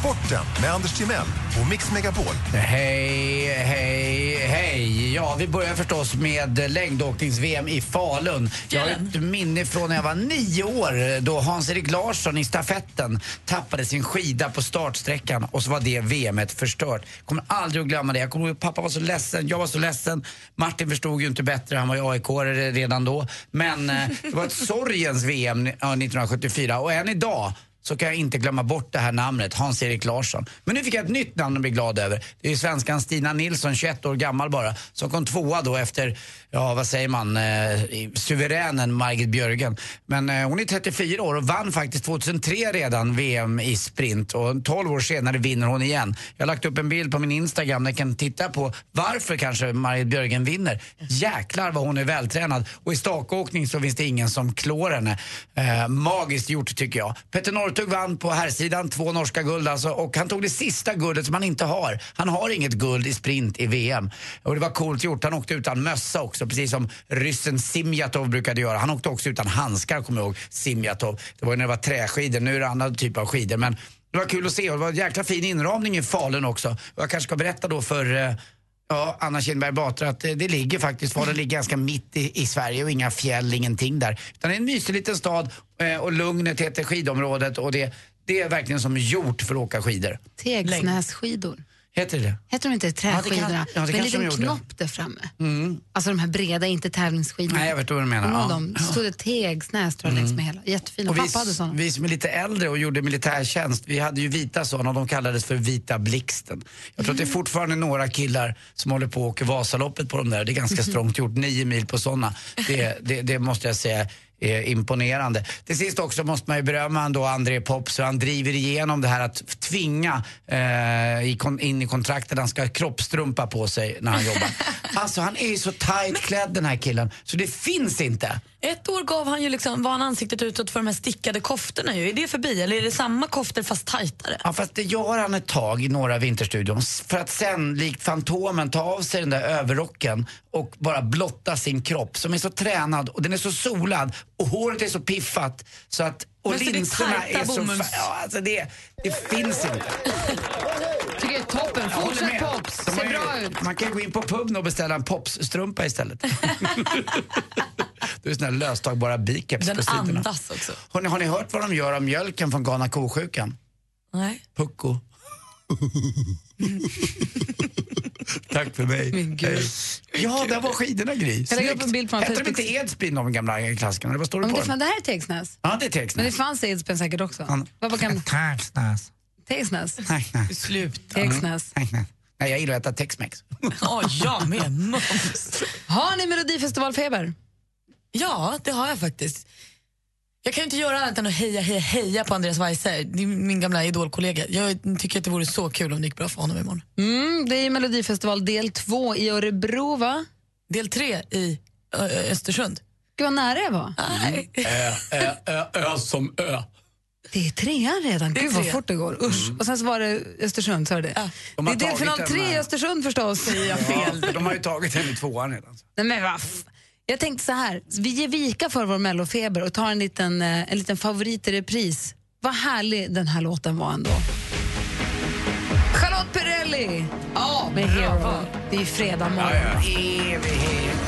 Speaker 17: Sporten med Anders Timell och Mix Megapol.
Speaker 5: Hej, hej, hej. Ja, vi börjar förstås med längdåknings-VM i Falun. Jag har ett minne från när jag var nio år då Hans-Erik Larsson i stafetten tappade sin skida på startsträckan och så var det VMet förstört. Kommer aldrig att glömma det. Jag kommer ihåg att pappa var så ledsen, jag var så ledsen. Martin förstod ju inte bättre, han var ju AIK-are redan då. Men eh, det var ett sorgens VM eh, 1974 och än idag så kan jag inte glömma bort det här namnet, Hans-Erik Larsson. Men nu fick jag ett nytt namn att bli glad över. Det är svenskan Stina Nilsson, 21 år gammal bara, som kom tvåa då efter, ja vad säger man, eh, i- suveränen Margit Björgen. Men eh, hon är 34 år och vann faktiskt 2003 redan VM i sprint och 12 år senare vinner hon igen. Jag har lagt upp en bild på min Instagram där ni kan titta på varför kanske Margit Björgen vinner. Jäklar vad hon är vältränad och i stakåkning så finns det ingen som klår henne. Eh, magiskt gjort tycker jag. Petter Northug vann på här sidan två norska guld alltså och han tog det sista guldet som han inte har. Han har inget guld i sprint i VM. Och det var coolt gjort. Han åkte utan mössa också precis som ryssen Simjatov brukade göra. Han åkte också utan handskar kommer jag ihåg, Simjatov. Det var ju när det var träskidor, nu är det annan typ av skidor. Men det var kul att se och det var en jäkla fin inramning i Falun också. Och jag kanske ska berätta då för eh, ja, Anna Kinberg Batra att eh, det ligger faktiskt, Falun ligger ganska mitt i, i Sverige och inga fjäll, ingenting där. Utan det är en mysig liten stad eh, och lugnet heter skidområdet och det, det är verkligen som gjort för att åka skidor.
Speaker 4: Tegsnässkidor.
Speaker 5: Heter det det
Speaker 4: Heter de inte
Speaker 5: Ja, det
Speaker 4: träskidorna?
Speaker 5: kan-
Speaker 4: med
Speaker 5: ja, det
Speaker 4: en
Speaker 5: kanske de
Speaker 4: liten
Speaker 5: gjorde.
Speaker 4: knopp där framme.
Speaker 5: Mm.
Speaker 4: Alltså de här breda, inte tävlingsskidorna.
Speaker 5: Nej, jag vet vad du menar.
Speaker 4: Kommer du ihåg
Speaker 5: Ja. Mm.
Speaker 4: dem? Det stod det Tegsnäs tror jag längs med hela. Jättefina.
Speaker 5: Och vi,
Speaker 4: Pappa hade såna.
Speaker 5: vi som är lite äldre och gjorde militärtjänst, vi hade ju vita sådana och de kallades för vita blixten. Jag tror
Speaker 4: Mm.
Speaker 5: att det är fortfarande några killar som håller på och åker Vasaloppet på de där. Det är
Speaker 4: Mhm.
Speaker 5: ganska strångt gjort, nio mil på sådana. Det, det, det måste jag säga är imponerande. Till sist också måste man ju berömma ändå André Pops hur han driver igenom det här att tvinga eh, i kon, in i kontraktet han ska ha kroppstrumpa på sig när han jobbar. Alltså han är ju så tight klädd den här killen så det finns inte.
Speaker 6: Ett år gav han ju liksom, var han ansiktet utåt för de här stickade koftorna. Ju. Är det förbi eller är det samma koftor fast tajtare?
Speaker 5: Ja, fast det gör han ett tag i några Vinterstudion s- för att sen likt Fantomen ta av sig den där överrocken och bara blotta sin kropp som är så tränad och den är så solad och håret är så piffat så att och
Speaker 10: Men så det är
Speaker 5: linserna
Speaker 10: tajta
Speaker 5: är, så...
Speaker 10: bomulls.
Speaker 5: fa- Ja, alltså det, det finns inte.
Speaker 4: Tycker jag är toppen.
Speaker 5: Jag håller
Speaker 4: Fortsätt
Speaker 5: med.
Speaker 4: Pops.
Speaker 5: De har
Speaker 4: Ser
Speaker 5: ju-
Speaker 4: bra ut.
Speaker 5: Man kan gå in på puben och beställa en popsstrumpa istället. det är såna här löstagbara bikeps
Speaker 6: Den
Speaker 5: på sidorna.
Speaker 6: andas också.
Speaker 5: Har ni, har ni hört vad de gör av mjölken från galna ko-sjukan?
Speaker 6: Nej.
Speaker 5: Pucko. Tack för mig.
Speaker 4: Min Gud.
Speaker 5: Ja, där var skidorna Gry.
Speaker 4: Jag lägger upp en bild på hans
Speaker 5: Hette de inte Edsbyn de gamla klassikerna? Eller Vad står
Speaker 4: Ja,
Speaker 5: det
Speaker 4: Men
Speaker 5: på
Speaker 4: det,
Speaker 5: dem?
Speaker 4: fan, det här är Tegsnäs.
Speaker 5: Ja, det
Speaker 4: Men
Speaker 5: är
Speaker 4: det
Speaker 5: Tegsnäs.
Speaker 4: fanns i Edsbyn säkert också. Vad var gamla-
Speaker 5: Tegsnäs.
Speaker 4: Tegsnäs?
Speaker 5: Tegsnäs.
Speaker 6: Sluta.
Speaker 4: Tegsnäs.
Speaker 5: Nej, jag gillar att äta Tex-Mex.
Speaker 6: Ja, jag med.
Speaker 4: Har ni Melodifestivalfeber?
Speaker 6: Ja, det har jag faktiskt. Jag kan ju inte göra annat än att heja, heja, heja på Andreas Weiser, Det är min gamla idolkollega. Jag tycker att det vore så kul om det gick bra för honom imorgon.
Speaker 4: Mm, det är ju Melodifestival del två i Örebro, va?
Speaker 6: Del tre i Ö, Ö, Östersund.
Speaker 4: Gud, vad nära jag var.
Speaker 6: Nej.
Speaker 5: Ö, ö, ö som ö.
Speaker 4: Det är Mm. trean redan.
Speaker 5: Det är
Speaker 4: Gud, vad
Speaker 5: trean.
Speaker 4: fort det går. Usch. Och sen så var det Östersund, sa du det?
Speaker 5: De
Speaker 4: Det
Speaker 5: har
Speaker 4: är delfinal
Speaker 5: tagit den
Speaker 4: tre i
Speaker 5: här.
Speaker 4: Östersund förstås.
Speaker 5: Ja, de har ju tagit henne i tvåan redan.
Speaker 4: Nej, men vaff. Jag tänkte så här, vi ger vika för vår mellofeber och tar en liten, eh, en liten favorit i repris. Vad härlig den här låten var ändå. Charlotte Perrelli med Hero. Det är ju fredag morgon.
Speaker 10: Ja, ja.
Speaker 4: Evighet.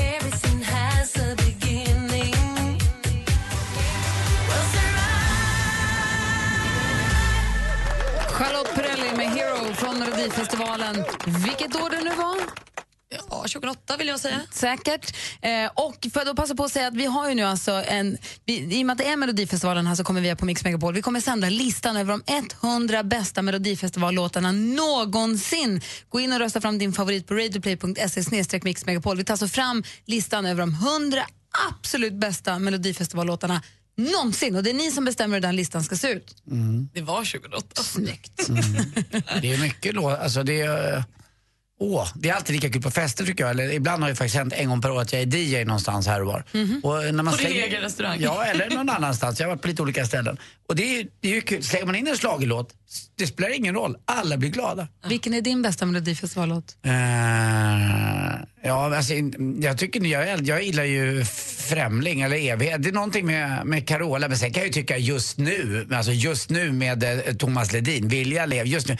Speaker 10: Everything has a beginning.
Speaker 4: Charlotte Perrelli med Hero från Melodifestivalen. Vilket år det nu var?
Speaker 6: Ja, 2008 vill jag säga.
Speaker 4: Säkert. Eh, och för att då passa på att säga att vi har ju nu alltså en... Vi, I och med att det är Melodifestivalen här så kommer vi här på Mix Megapol. Vi kommer sända listan över de 100 bästa Melodifestivallåtarna någonsin. Gå in och rösta fram din favorit på radioplay.se mixmegapol. Vi tar alltså fram listan över de 100 absolut bästa Melodifestivallåtarna någonsin. Och det är ni som bestämmer hur den listan ska se ut.
Speaker 6: Det var 2008.
Speaker 4: Snyggt.
Speaker 5: Det är mycket låt. Alltså det är... eh, Åh, det är alltid lika kul på fester tycker jag. Eller ibland har det faktiskt hänt en gång per år att jag är DJ någonstans här och var. Och eh, när
Speaker 6: Mhm. På din egen restaurang.
Speaker 5: Ja, eller någon annanstans. Jag har varit på lite olika ställen. Och det är, ju- det är ju kul. Slänger man in en schlagerlåt, det spelar ingen roll. Alla blir glada.
Speaker 4: Vilken är din bästa Melodifestivallåt?
Speaker 5: Eh, ja, alltså, in- jag, tycker, jag, jag gillar ju Främling eller Evighet. Det är någonting med, med Carola. Men sen kan jag ju tycka just nu, men alltså just nu med eh, Thomas Ledin, Vilja lev just nu.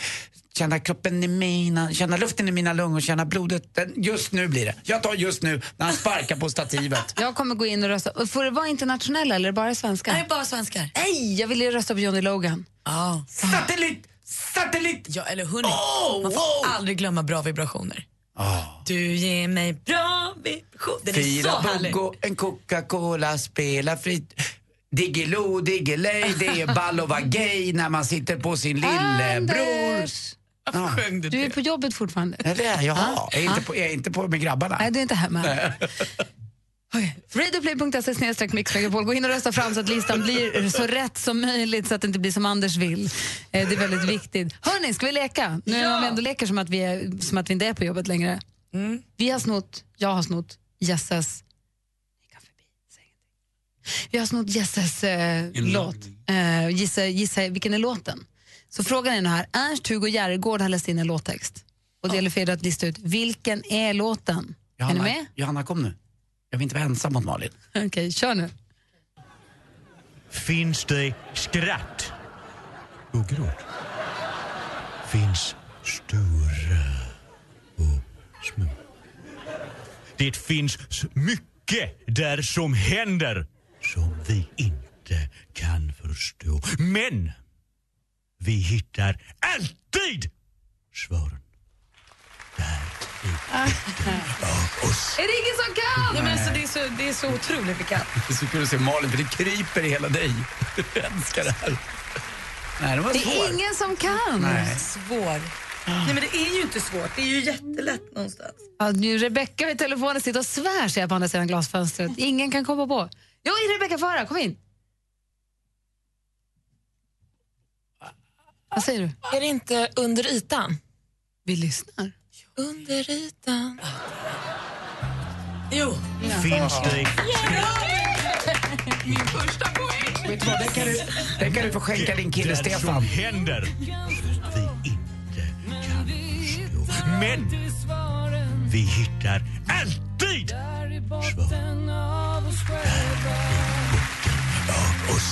Speaker 5: Känna kroppen i mina, känna luften i mina lungor, känna blodet. Den- Just nu blir det. Jag tar just nu när han sparkar på stativet.
Speaker 4: Jag kommer gå in och rösta. Och Får det vara internationella eller är det bara svenska?
Speaker 6: Nej, bara svenskar.
Speaker 4: Nej, jag ville ju rösta på Johnny Logan.
Speaker 6: Ja.
Speaker 5: Satellit! Satellit!
Speaker 6: Ja, eller hörni, man får aldrig glömma bra vibrationer. Du ger mig bra vibrationer. Den är så
Speaker 5: Fyra
Speaker 6: härlig.
Speaker 5: Bongo, en Coca-Cola, spela fritt. Diggiloo, diggiley, det är ball och vara gay när man sitter på sin lillebror.
Speaker 4: Anders!
Speaker 5: Ja.
Speaker 4: Du är på jobbet fortfarande?
Speaker 5: Ja, det är jag.
Speaker 4: Ja.
Speaker 5: Jag är inte på, jag är inte på med grabbarna.
Speaker 4: Nej, du är inte hemma.
Speaker 5: Nej.
Speaker 4: Radioplay.se snedstreck mixmegapol. Gå in och rösta fram så att listan blir så rätt som möjligt så att det inte blir som Anders vill. Eh, Det är väldigt viktigt. Hörni, ska vi leka? Nu när vi ändå leker som att, vi är, som att vi inte är på jobbet längre. Vi har snott, jag har snott, Jesses... Vi har snott Jesses eh, låt. Eh, gissa, gissa vilken är låten? Så frågan är nu här, Ernst-Hugo Järregård har läst in en låttext. Och det gäller för er att lista ut, vilken är låten? Är ni
Speaker 5: Johanna,
Speaker 4: med?
Speaker 5: Johanna, kom nu. Jag vill inte vara ensam mot Malin.
Speaker 4: Okej, kör nu.
Speaker 20: Finns det skratt och gråt? Finns stora och små? Det finns s- mycket där som händer som vi inte kan förstå. Men vi hittar alltid svaren.
Speaker 4: Är det ingen som kan?
Speaker 6: Ja, men alltså, det, är så, det är så otroligt vilka...
Speaker 5: Det är så kul att se Malin, för det kryper i hela dig. Jag älskar det här. Nej, det var
Speaker 4: Det
Speaker 5: svår.
Speaker 4: är ingen som kan.
Speaker 5: Nej.
Speaker 6: Svår. Nej, men det är ju inte svårt. Det är ju jättelätt någonstans.
Speaker 4: Ja, nu Rebecka vid telefonen sitter och svär sig på andra sidan glasfönstret. Ingen kan komma på. Jo, är Rebecka Fara, kom in. Vad säger du?
Speaker 21: Är det inte under ytan?
Speaker 4: Vi lyssnar.
Speaker 21: Under ytan.
Speaker 6: Jo.
Speaker 20: Finns det...
Speaker 6: Min första poäng.
Speaker 5: Vet du vad, det kan du, det kan du få skänka din kille
Speaker 20: där
Speaker 5: Stefan.
Speaker 20: som händer Men vi hittar alltid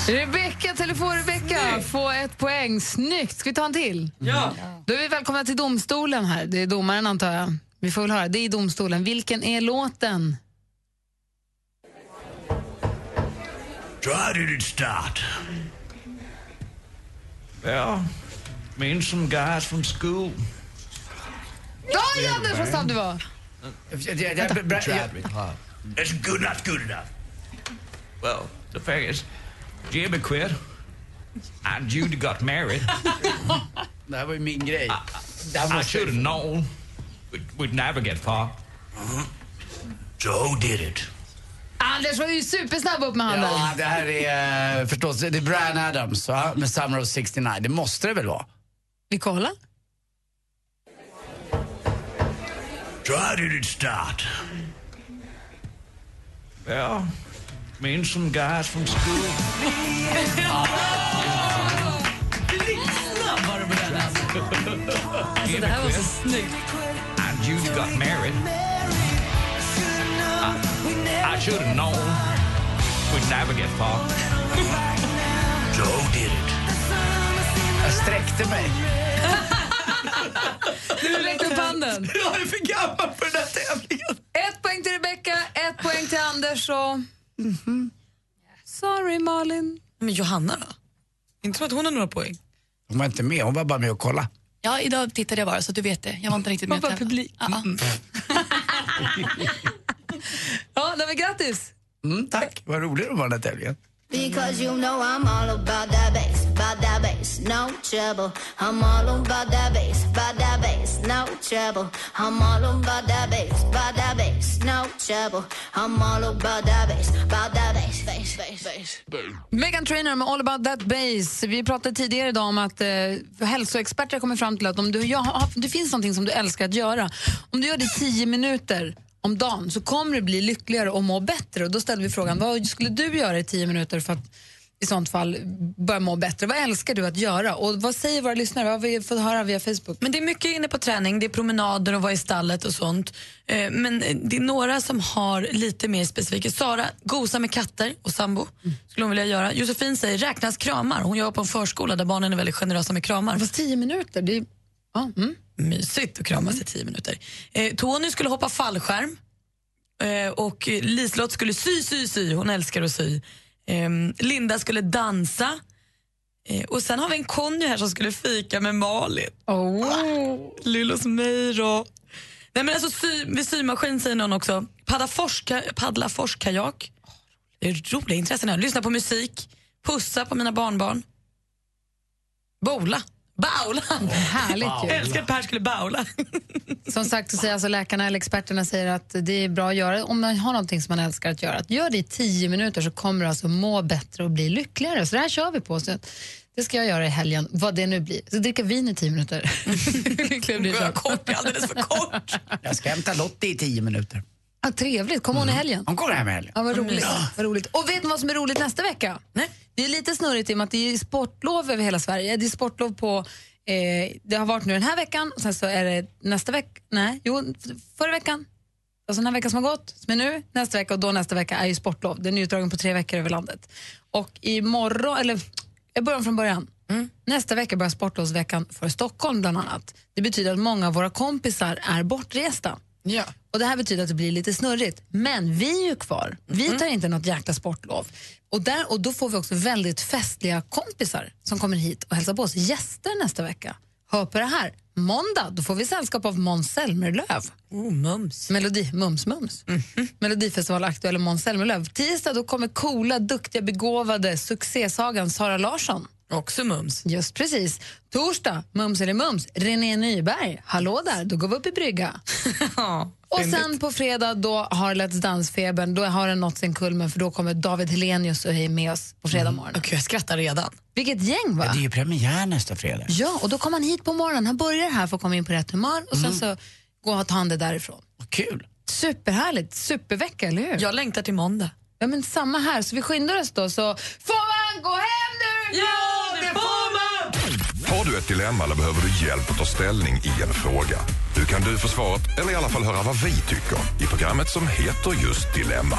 Speaker 4: Rebecka, telefon-Rebecka, få ett poäng. Snyggt. Ska vi ta en till?
Speaker 6: Ja.
Speaker 4: Då är vi välkomna till domstolen här. Det är domaren antar jag. Vi får väl höra. Det är domstolen. Vilken är låten?
Speaker 20: Så här är ditt start. Ja, minns som guys from school.
Speaker 4: Oj, Anders, vad snabb du var!
Speaker 20: Tried me hard. That's good, not good enough. Well, the thing is, Jimmy quit and Judy got married. Ah,
Speaker 5: Det här var ju min grej.
Speaker 20: I should have known. We'd, we'd never get far. Joe did it.
Speaker 4: Anders var ju supersnabb upp med handen.
Speaker 5: Ja, det här är eh, förstås, det är Brian Adams va? med Summer of 69. Det måste det väl vara?
Speaker 4: Vi kollar.
Speaker 20: So how did it start? Well, me and some guys from school.
Speaker 6: Snabb var du på den alltså.
Speaker 20: Alltså
Speaker 6: det här var så
Speaker 20: snyggt. And you got married. I, I should have known we'd never get far. Joe did it.
Speaker 5: Jag sträckte mig.
Speaker 4: Du räckte upp handen.
Speaker 5: Jag är för gammal för den här tävlingen.
Speaker 4: Ett poäng till Rebecca, ett poäng till Anders och... Sorry, Malin.
Speaker 6: Mhm. Men Johanna då? Inte så att hon har några poäng.
Speaker 5: Hon var inte med, hon var bara med och kollade.
Speaker 22: Ja, idag tittade jag bara så att du vet det. Jag var inte riktigt med.
Speaker 4: Hoppa publik.
Speaker 22: Ja, ja.
Speaker 4: Ja, nej, men grattis!
Speaker 5: Mm, tack, vad rolig du var den här tävlingen.
Speaker 11: Because you know I'm all about that bass, about that bass, no trouble. I'm all about that bass, about that bass, no trouble. I'm all about that bass, about that bass, no trouble. I'm all about that bass, about that bass, bass, bass, bass.
Speaker 4: Megan Trainor med All about that bass. Vi pratade tidigare idag om att eh, hälsoexperter kommer fram till att om du, jag, har- det finns någonting som du älskar att göra. Om du gör det 10 minuter om dagen så kommer du bli lyckligare och må bättre. Och då ställde vi frågan, vad skulle du göra i 10 minuter för att i sånt fall börja må bättre? Vad älskar du att göra? Och vad säger våra lyssnare? Vad har vi fått höra via Facebook?
Speaker 6: Men det är mycket inne på träning, det är promenader och vara i stallet och sånt. Eh, Men eh, det är några som har lite mer specifika. Sara, gosa med katter och sambo, skulle hon vilja göra. Josefin säger, räknas kramar? Hon jobbar på en förskola där barnen är väldigt generösa med kramar.
Speaker 4: Fast tio minuter, det är... mm.
Speaker 6: Mysigt att kramas i tio minuter. Eh, Tony skulle hoppa fallskärm. Eh, och eh, Liselott skulle sy, sy, sy. Hon älskar att sy. Eh, Linda skulle dansa. Eh, och sen har vi en Conny här som skulle fika med Malin.
Speaker 4: Oh.
Speaker 6: Lillos mig då. Nej, men alltså, sy, vid symaskin säger någon också. Paddla, forska, paddla forskajak. Det är roliga intressen här. Lyssna på musik. Pussa på mina barnbarn. Bola. Baula.
Speaker 4: härligt ju.
Speaker 6: Jag älskar att Per skulle baula.
Speaker 4: Som sagt så säger alltså läkarna eller experterna säger att det är bra att göra om man har någonting som man älskar att göra. Att gör det i tio minuter så kommer du alltså må bättre och bli lyckligare. Så det här kör vi på. Så att det ska jag göra i helgen, vad det nu blir. Så dricka vin i tio minuter. Lyckligare blir jag.
Speaker 6: Kort, alldeles för kort.
Speaker 5: Jag ska hämta Lottie i tio minuter.
Speaker 4: Ah, trevligt, kom hon i helgen?
Speaker 5: Hon kommer hem i helgen.
Speaker 4: Mm. Ja, vad, roligt. vad roligt. Och vet ni vad som är roligt nästa vecka? Nej. Det är lite snurrigt i och med att det är sportlov över hela Sverige. Det är sportlov på... Eh, det har varit nu den här veckan och sen så är det nästa vecka. Nej, jo, f- förra veckan. Alltså den här veckan som har gått, som är nu, nästa vecka och då nästa vecka är ju sportlov. Den är utdragen på tre veckor över landet. Och imorgon, eller jag börjar om från början. Nästa vecka börjar sportlovsveckan för Stockholm bland annat. Det betyder att många av våra kompisar är bortresta.
Speaker 6: Ja.
Speaker 4: Och Det här betyder att det blir lite snurrigt. Men vi är ju kvar. Vi tar inte något jäkla sportlov. Och, där, och Då får vi också väldigt festliga kompisar som kommer hit och hälsar på oss. Gäster nästa vecka. Hör på det här. Måndag då får vi sällskap av Måns Zelmerlöw.
Speaker 6: Oh, mums. Mhm.
Speaker 4: Melodi, mums, mums. Melodifestival aktuell och Måns Zelmerlöw. Tisdag då kommer coola, duktiga, begåvade succésagan Sara Larsson.
Speaker 6: Också mums.
Speaker 4: Just precis. Torsdag, mums eller mums, René Nyberg. Hallå där, då går vi upp i brygga. Och sen på fredag då har Let's Dance-febern, då har den nått sin kulmen för då kommer David Helenius och är med oss på fredag morgon.
Speaker 6: Mm. Gud, jag skrattar redan.
Speaker 4: Vilket gäng va?
Speaker 5: Det är ju premiär nästa fredag.
Speaker 4: Ja, och då kommer han hit på morgonen. Han börjar här för att komma in på rätt humör och sen så går tar han det därifrån.
Speaker 5: Mm. Vad kul.
Speaker 4: Superhärligt, supervecka, eller hur?
Speaker 6: Jag längtar till måndag.
Speaker 4: Ja, men samma här, så vi skyndar oss då. Så får man gå hem nu?
Speaker 6: Ja, det får man!
Speaker 17: Har du ett dilemma eller behöver du hjälp att ta ställning i en fråga? Nu kan du få svaret, eller i alla fall höra vad vi tycker i programmet som heter just Dilemma.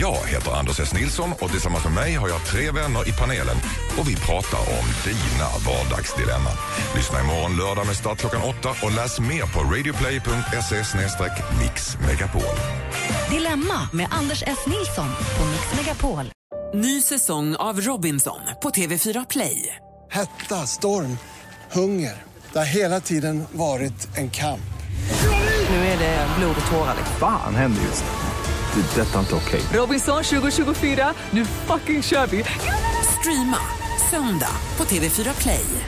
Speaker 17: Jag heter Anders S. Nilsson och tillsammans med mig har jag tre vänner i panelen och vi pratar om dina vardagsdilemma. Lyssna imorgon lördag med start klockan åtta och läs mer på radioplay.se E mixmegapol.
Speaker 3: Dilemma med Anders S. Nilsson på Mix Megapol.
Speaker 8: Ny säsong av Robinson på TV4 Play.
Speaker 23: Hetta, storm, hunger. Det har hela tiden varit en kamp.
Speaker 8: Nu är det blod och tårar.
Speaker 24: Fan händer just nu. Det. är Detta är inte okej.
Speaker 8: Robinson 2024, nu fucking kör vi! Streama söndag på TV4 Play.